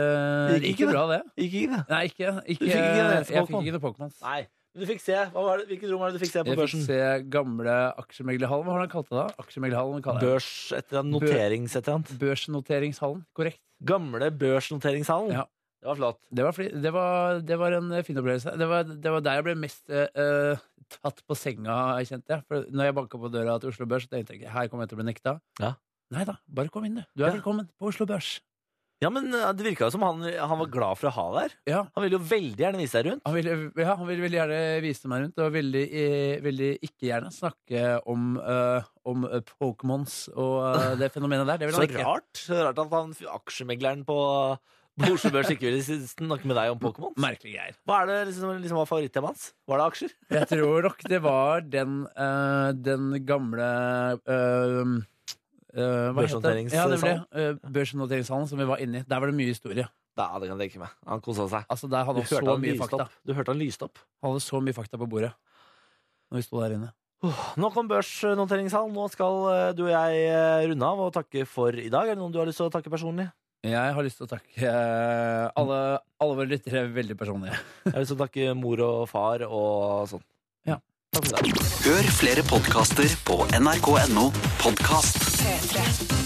Speaker 2: Det gikk
Speaker 3: ikke
Speaker 2: ikke,
Speaker 3: bra, det.
Speaker 2: Gikk ikke det?
Speaker 3: Nei, ikke,
Speaker 2: Du
Speaker 3: ikke,
Speaker 2: fikk ikke en eneste
Speaker 3: Jeg fikk
Speaker 2: Pokémon.
Speaker 3: ikke noe Pokémon.
Speaker 2: Nei. Men du fikk se. Hva var det? Hvilket rom var det du fikk se på
Speaker 3: Jeg fikk
Speaker 2: børsen?
Speaker 3: se gamle aksjemeglerhallen. Hva har han kalt det da? Aksjemeglerhallen kaller jeg det.
Speaker 2: Børs, et eller annet noterings, et eller annet.
Speaker 3: Børsnoteringshallen. Korrekt.
Speaker 2: Gamle børsnoteringshallen.
Speaker 3: Ja.
Speaker 2: Det var flott.
Speaker 3: Det var, fli- det var, det var en eh, fin opplevelse. Det var, det var der jeg ble mest eh, eh, tatt på senga, kjente jeg. For når jeg banka på døra til Oslo Børs, tenkte jeg ikke her kommer jeg til å bli nekta.
Speaker 2: Ja.
Speaker 3: Nei da, bare kom inn, du. Du er
Speaker 2: Ja.
Speaker 3: velkommen på Oslo Børs.
Speaker 2: Ja, men eh, Det virka jo som han, han var glad for å ha deg her.
Speaker 3: Ja.
Speaker 2: Han ville jo veldig gjerne vise deg rundt.
Speaker 3: Han ville, ja, han ville veldig gjerne vise meg rundt, og ville, eh, ville ikke gjerne snakke om, eh, om eh, Pokémons og eh, det fenomenet der. Det ville
Speaker 2: Så
Speaker 3: han ikke.
Speaker 2: rart så rart at han f- aksjemegleren på på Oslo Børs ikke ville si- snakke med deg om Pokémon.
Speaker 3: Merkelige greier.
Speaker 2: Hva er det liksom, liksom var favorittemaet hans? Var det aksjer?
Speaker 3: Jeg tror nok det var den, eh, den gamle uh, hva heter det?
Speaker 2: Børsnoteringshallen?
Speaker 3: Ja, nemlig. Uh, Børsnoteringshallen som vi var inni. Der var det mye historie.
Speaker 2: Ja, det kan jeg tenke meg. Han kosa seg.
Speaker 3: Altså, der
Speaker 2: Du
Speaker 3: hadde han
Speaker 2: hørte
Speaker 3: så
Speaker 2: han,
Speaker 3: mye
Speaker 2: lyste
Speaker 3: fakta.
Speaker 2: opp. du hørte han lyste opp.
Speaker 3: Han hadde så mye fakta på bordet når vi sto der inne.
Speaker 2: Nok om børsnoteringshall. Nå skal eh, du og jeg eh, runde av og takke for i dag. Er det noen du har lyst til å takke personlig?
Speaker 3: Jeg har lyst til å takke eh, alle, alle våre lyttere veldig personlig.
Speaker 2: Jeg har lyst til å takke mor og far og sånn.
Speaker 3: Ja.
Speaker 2: Takk for i dag.
Speaker 1: Hør flere podkaster på nrk.no podkast.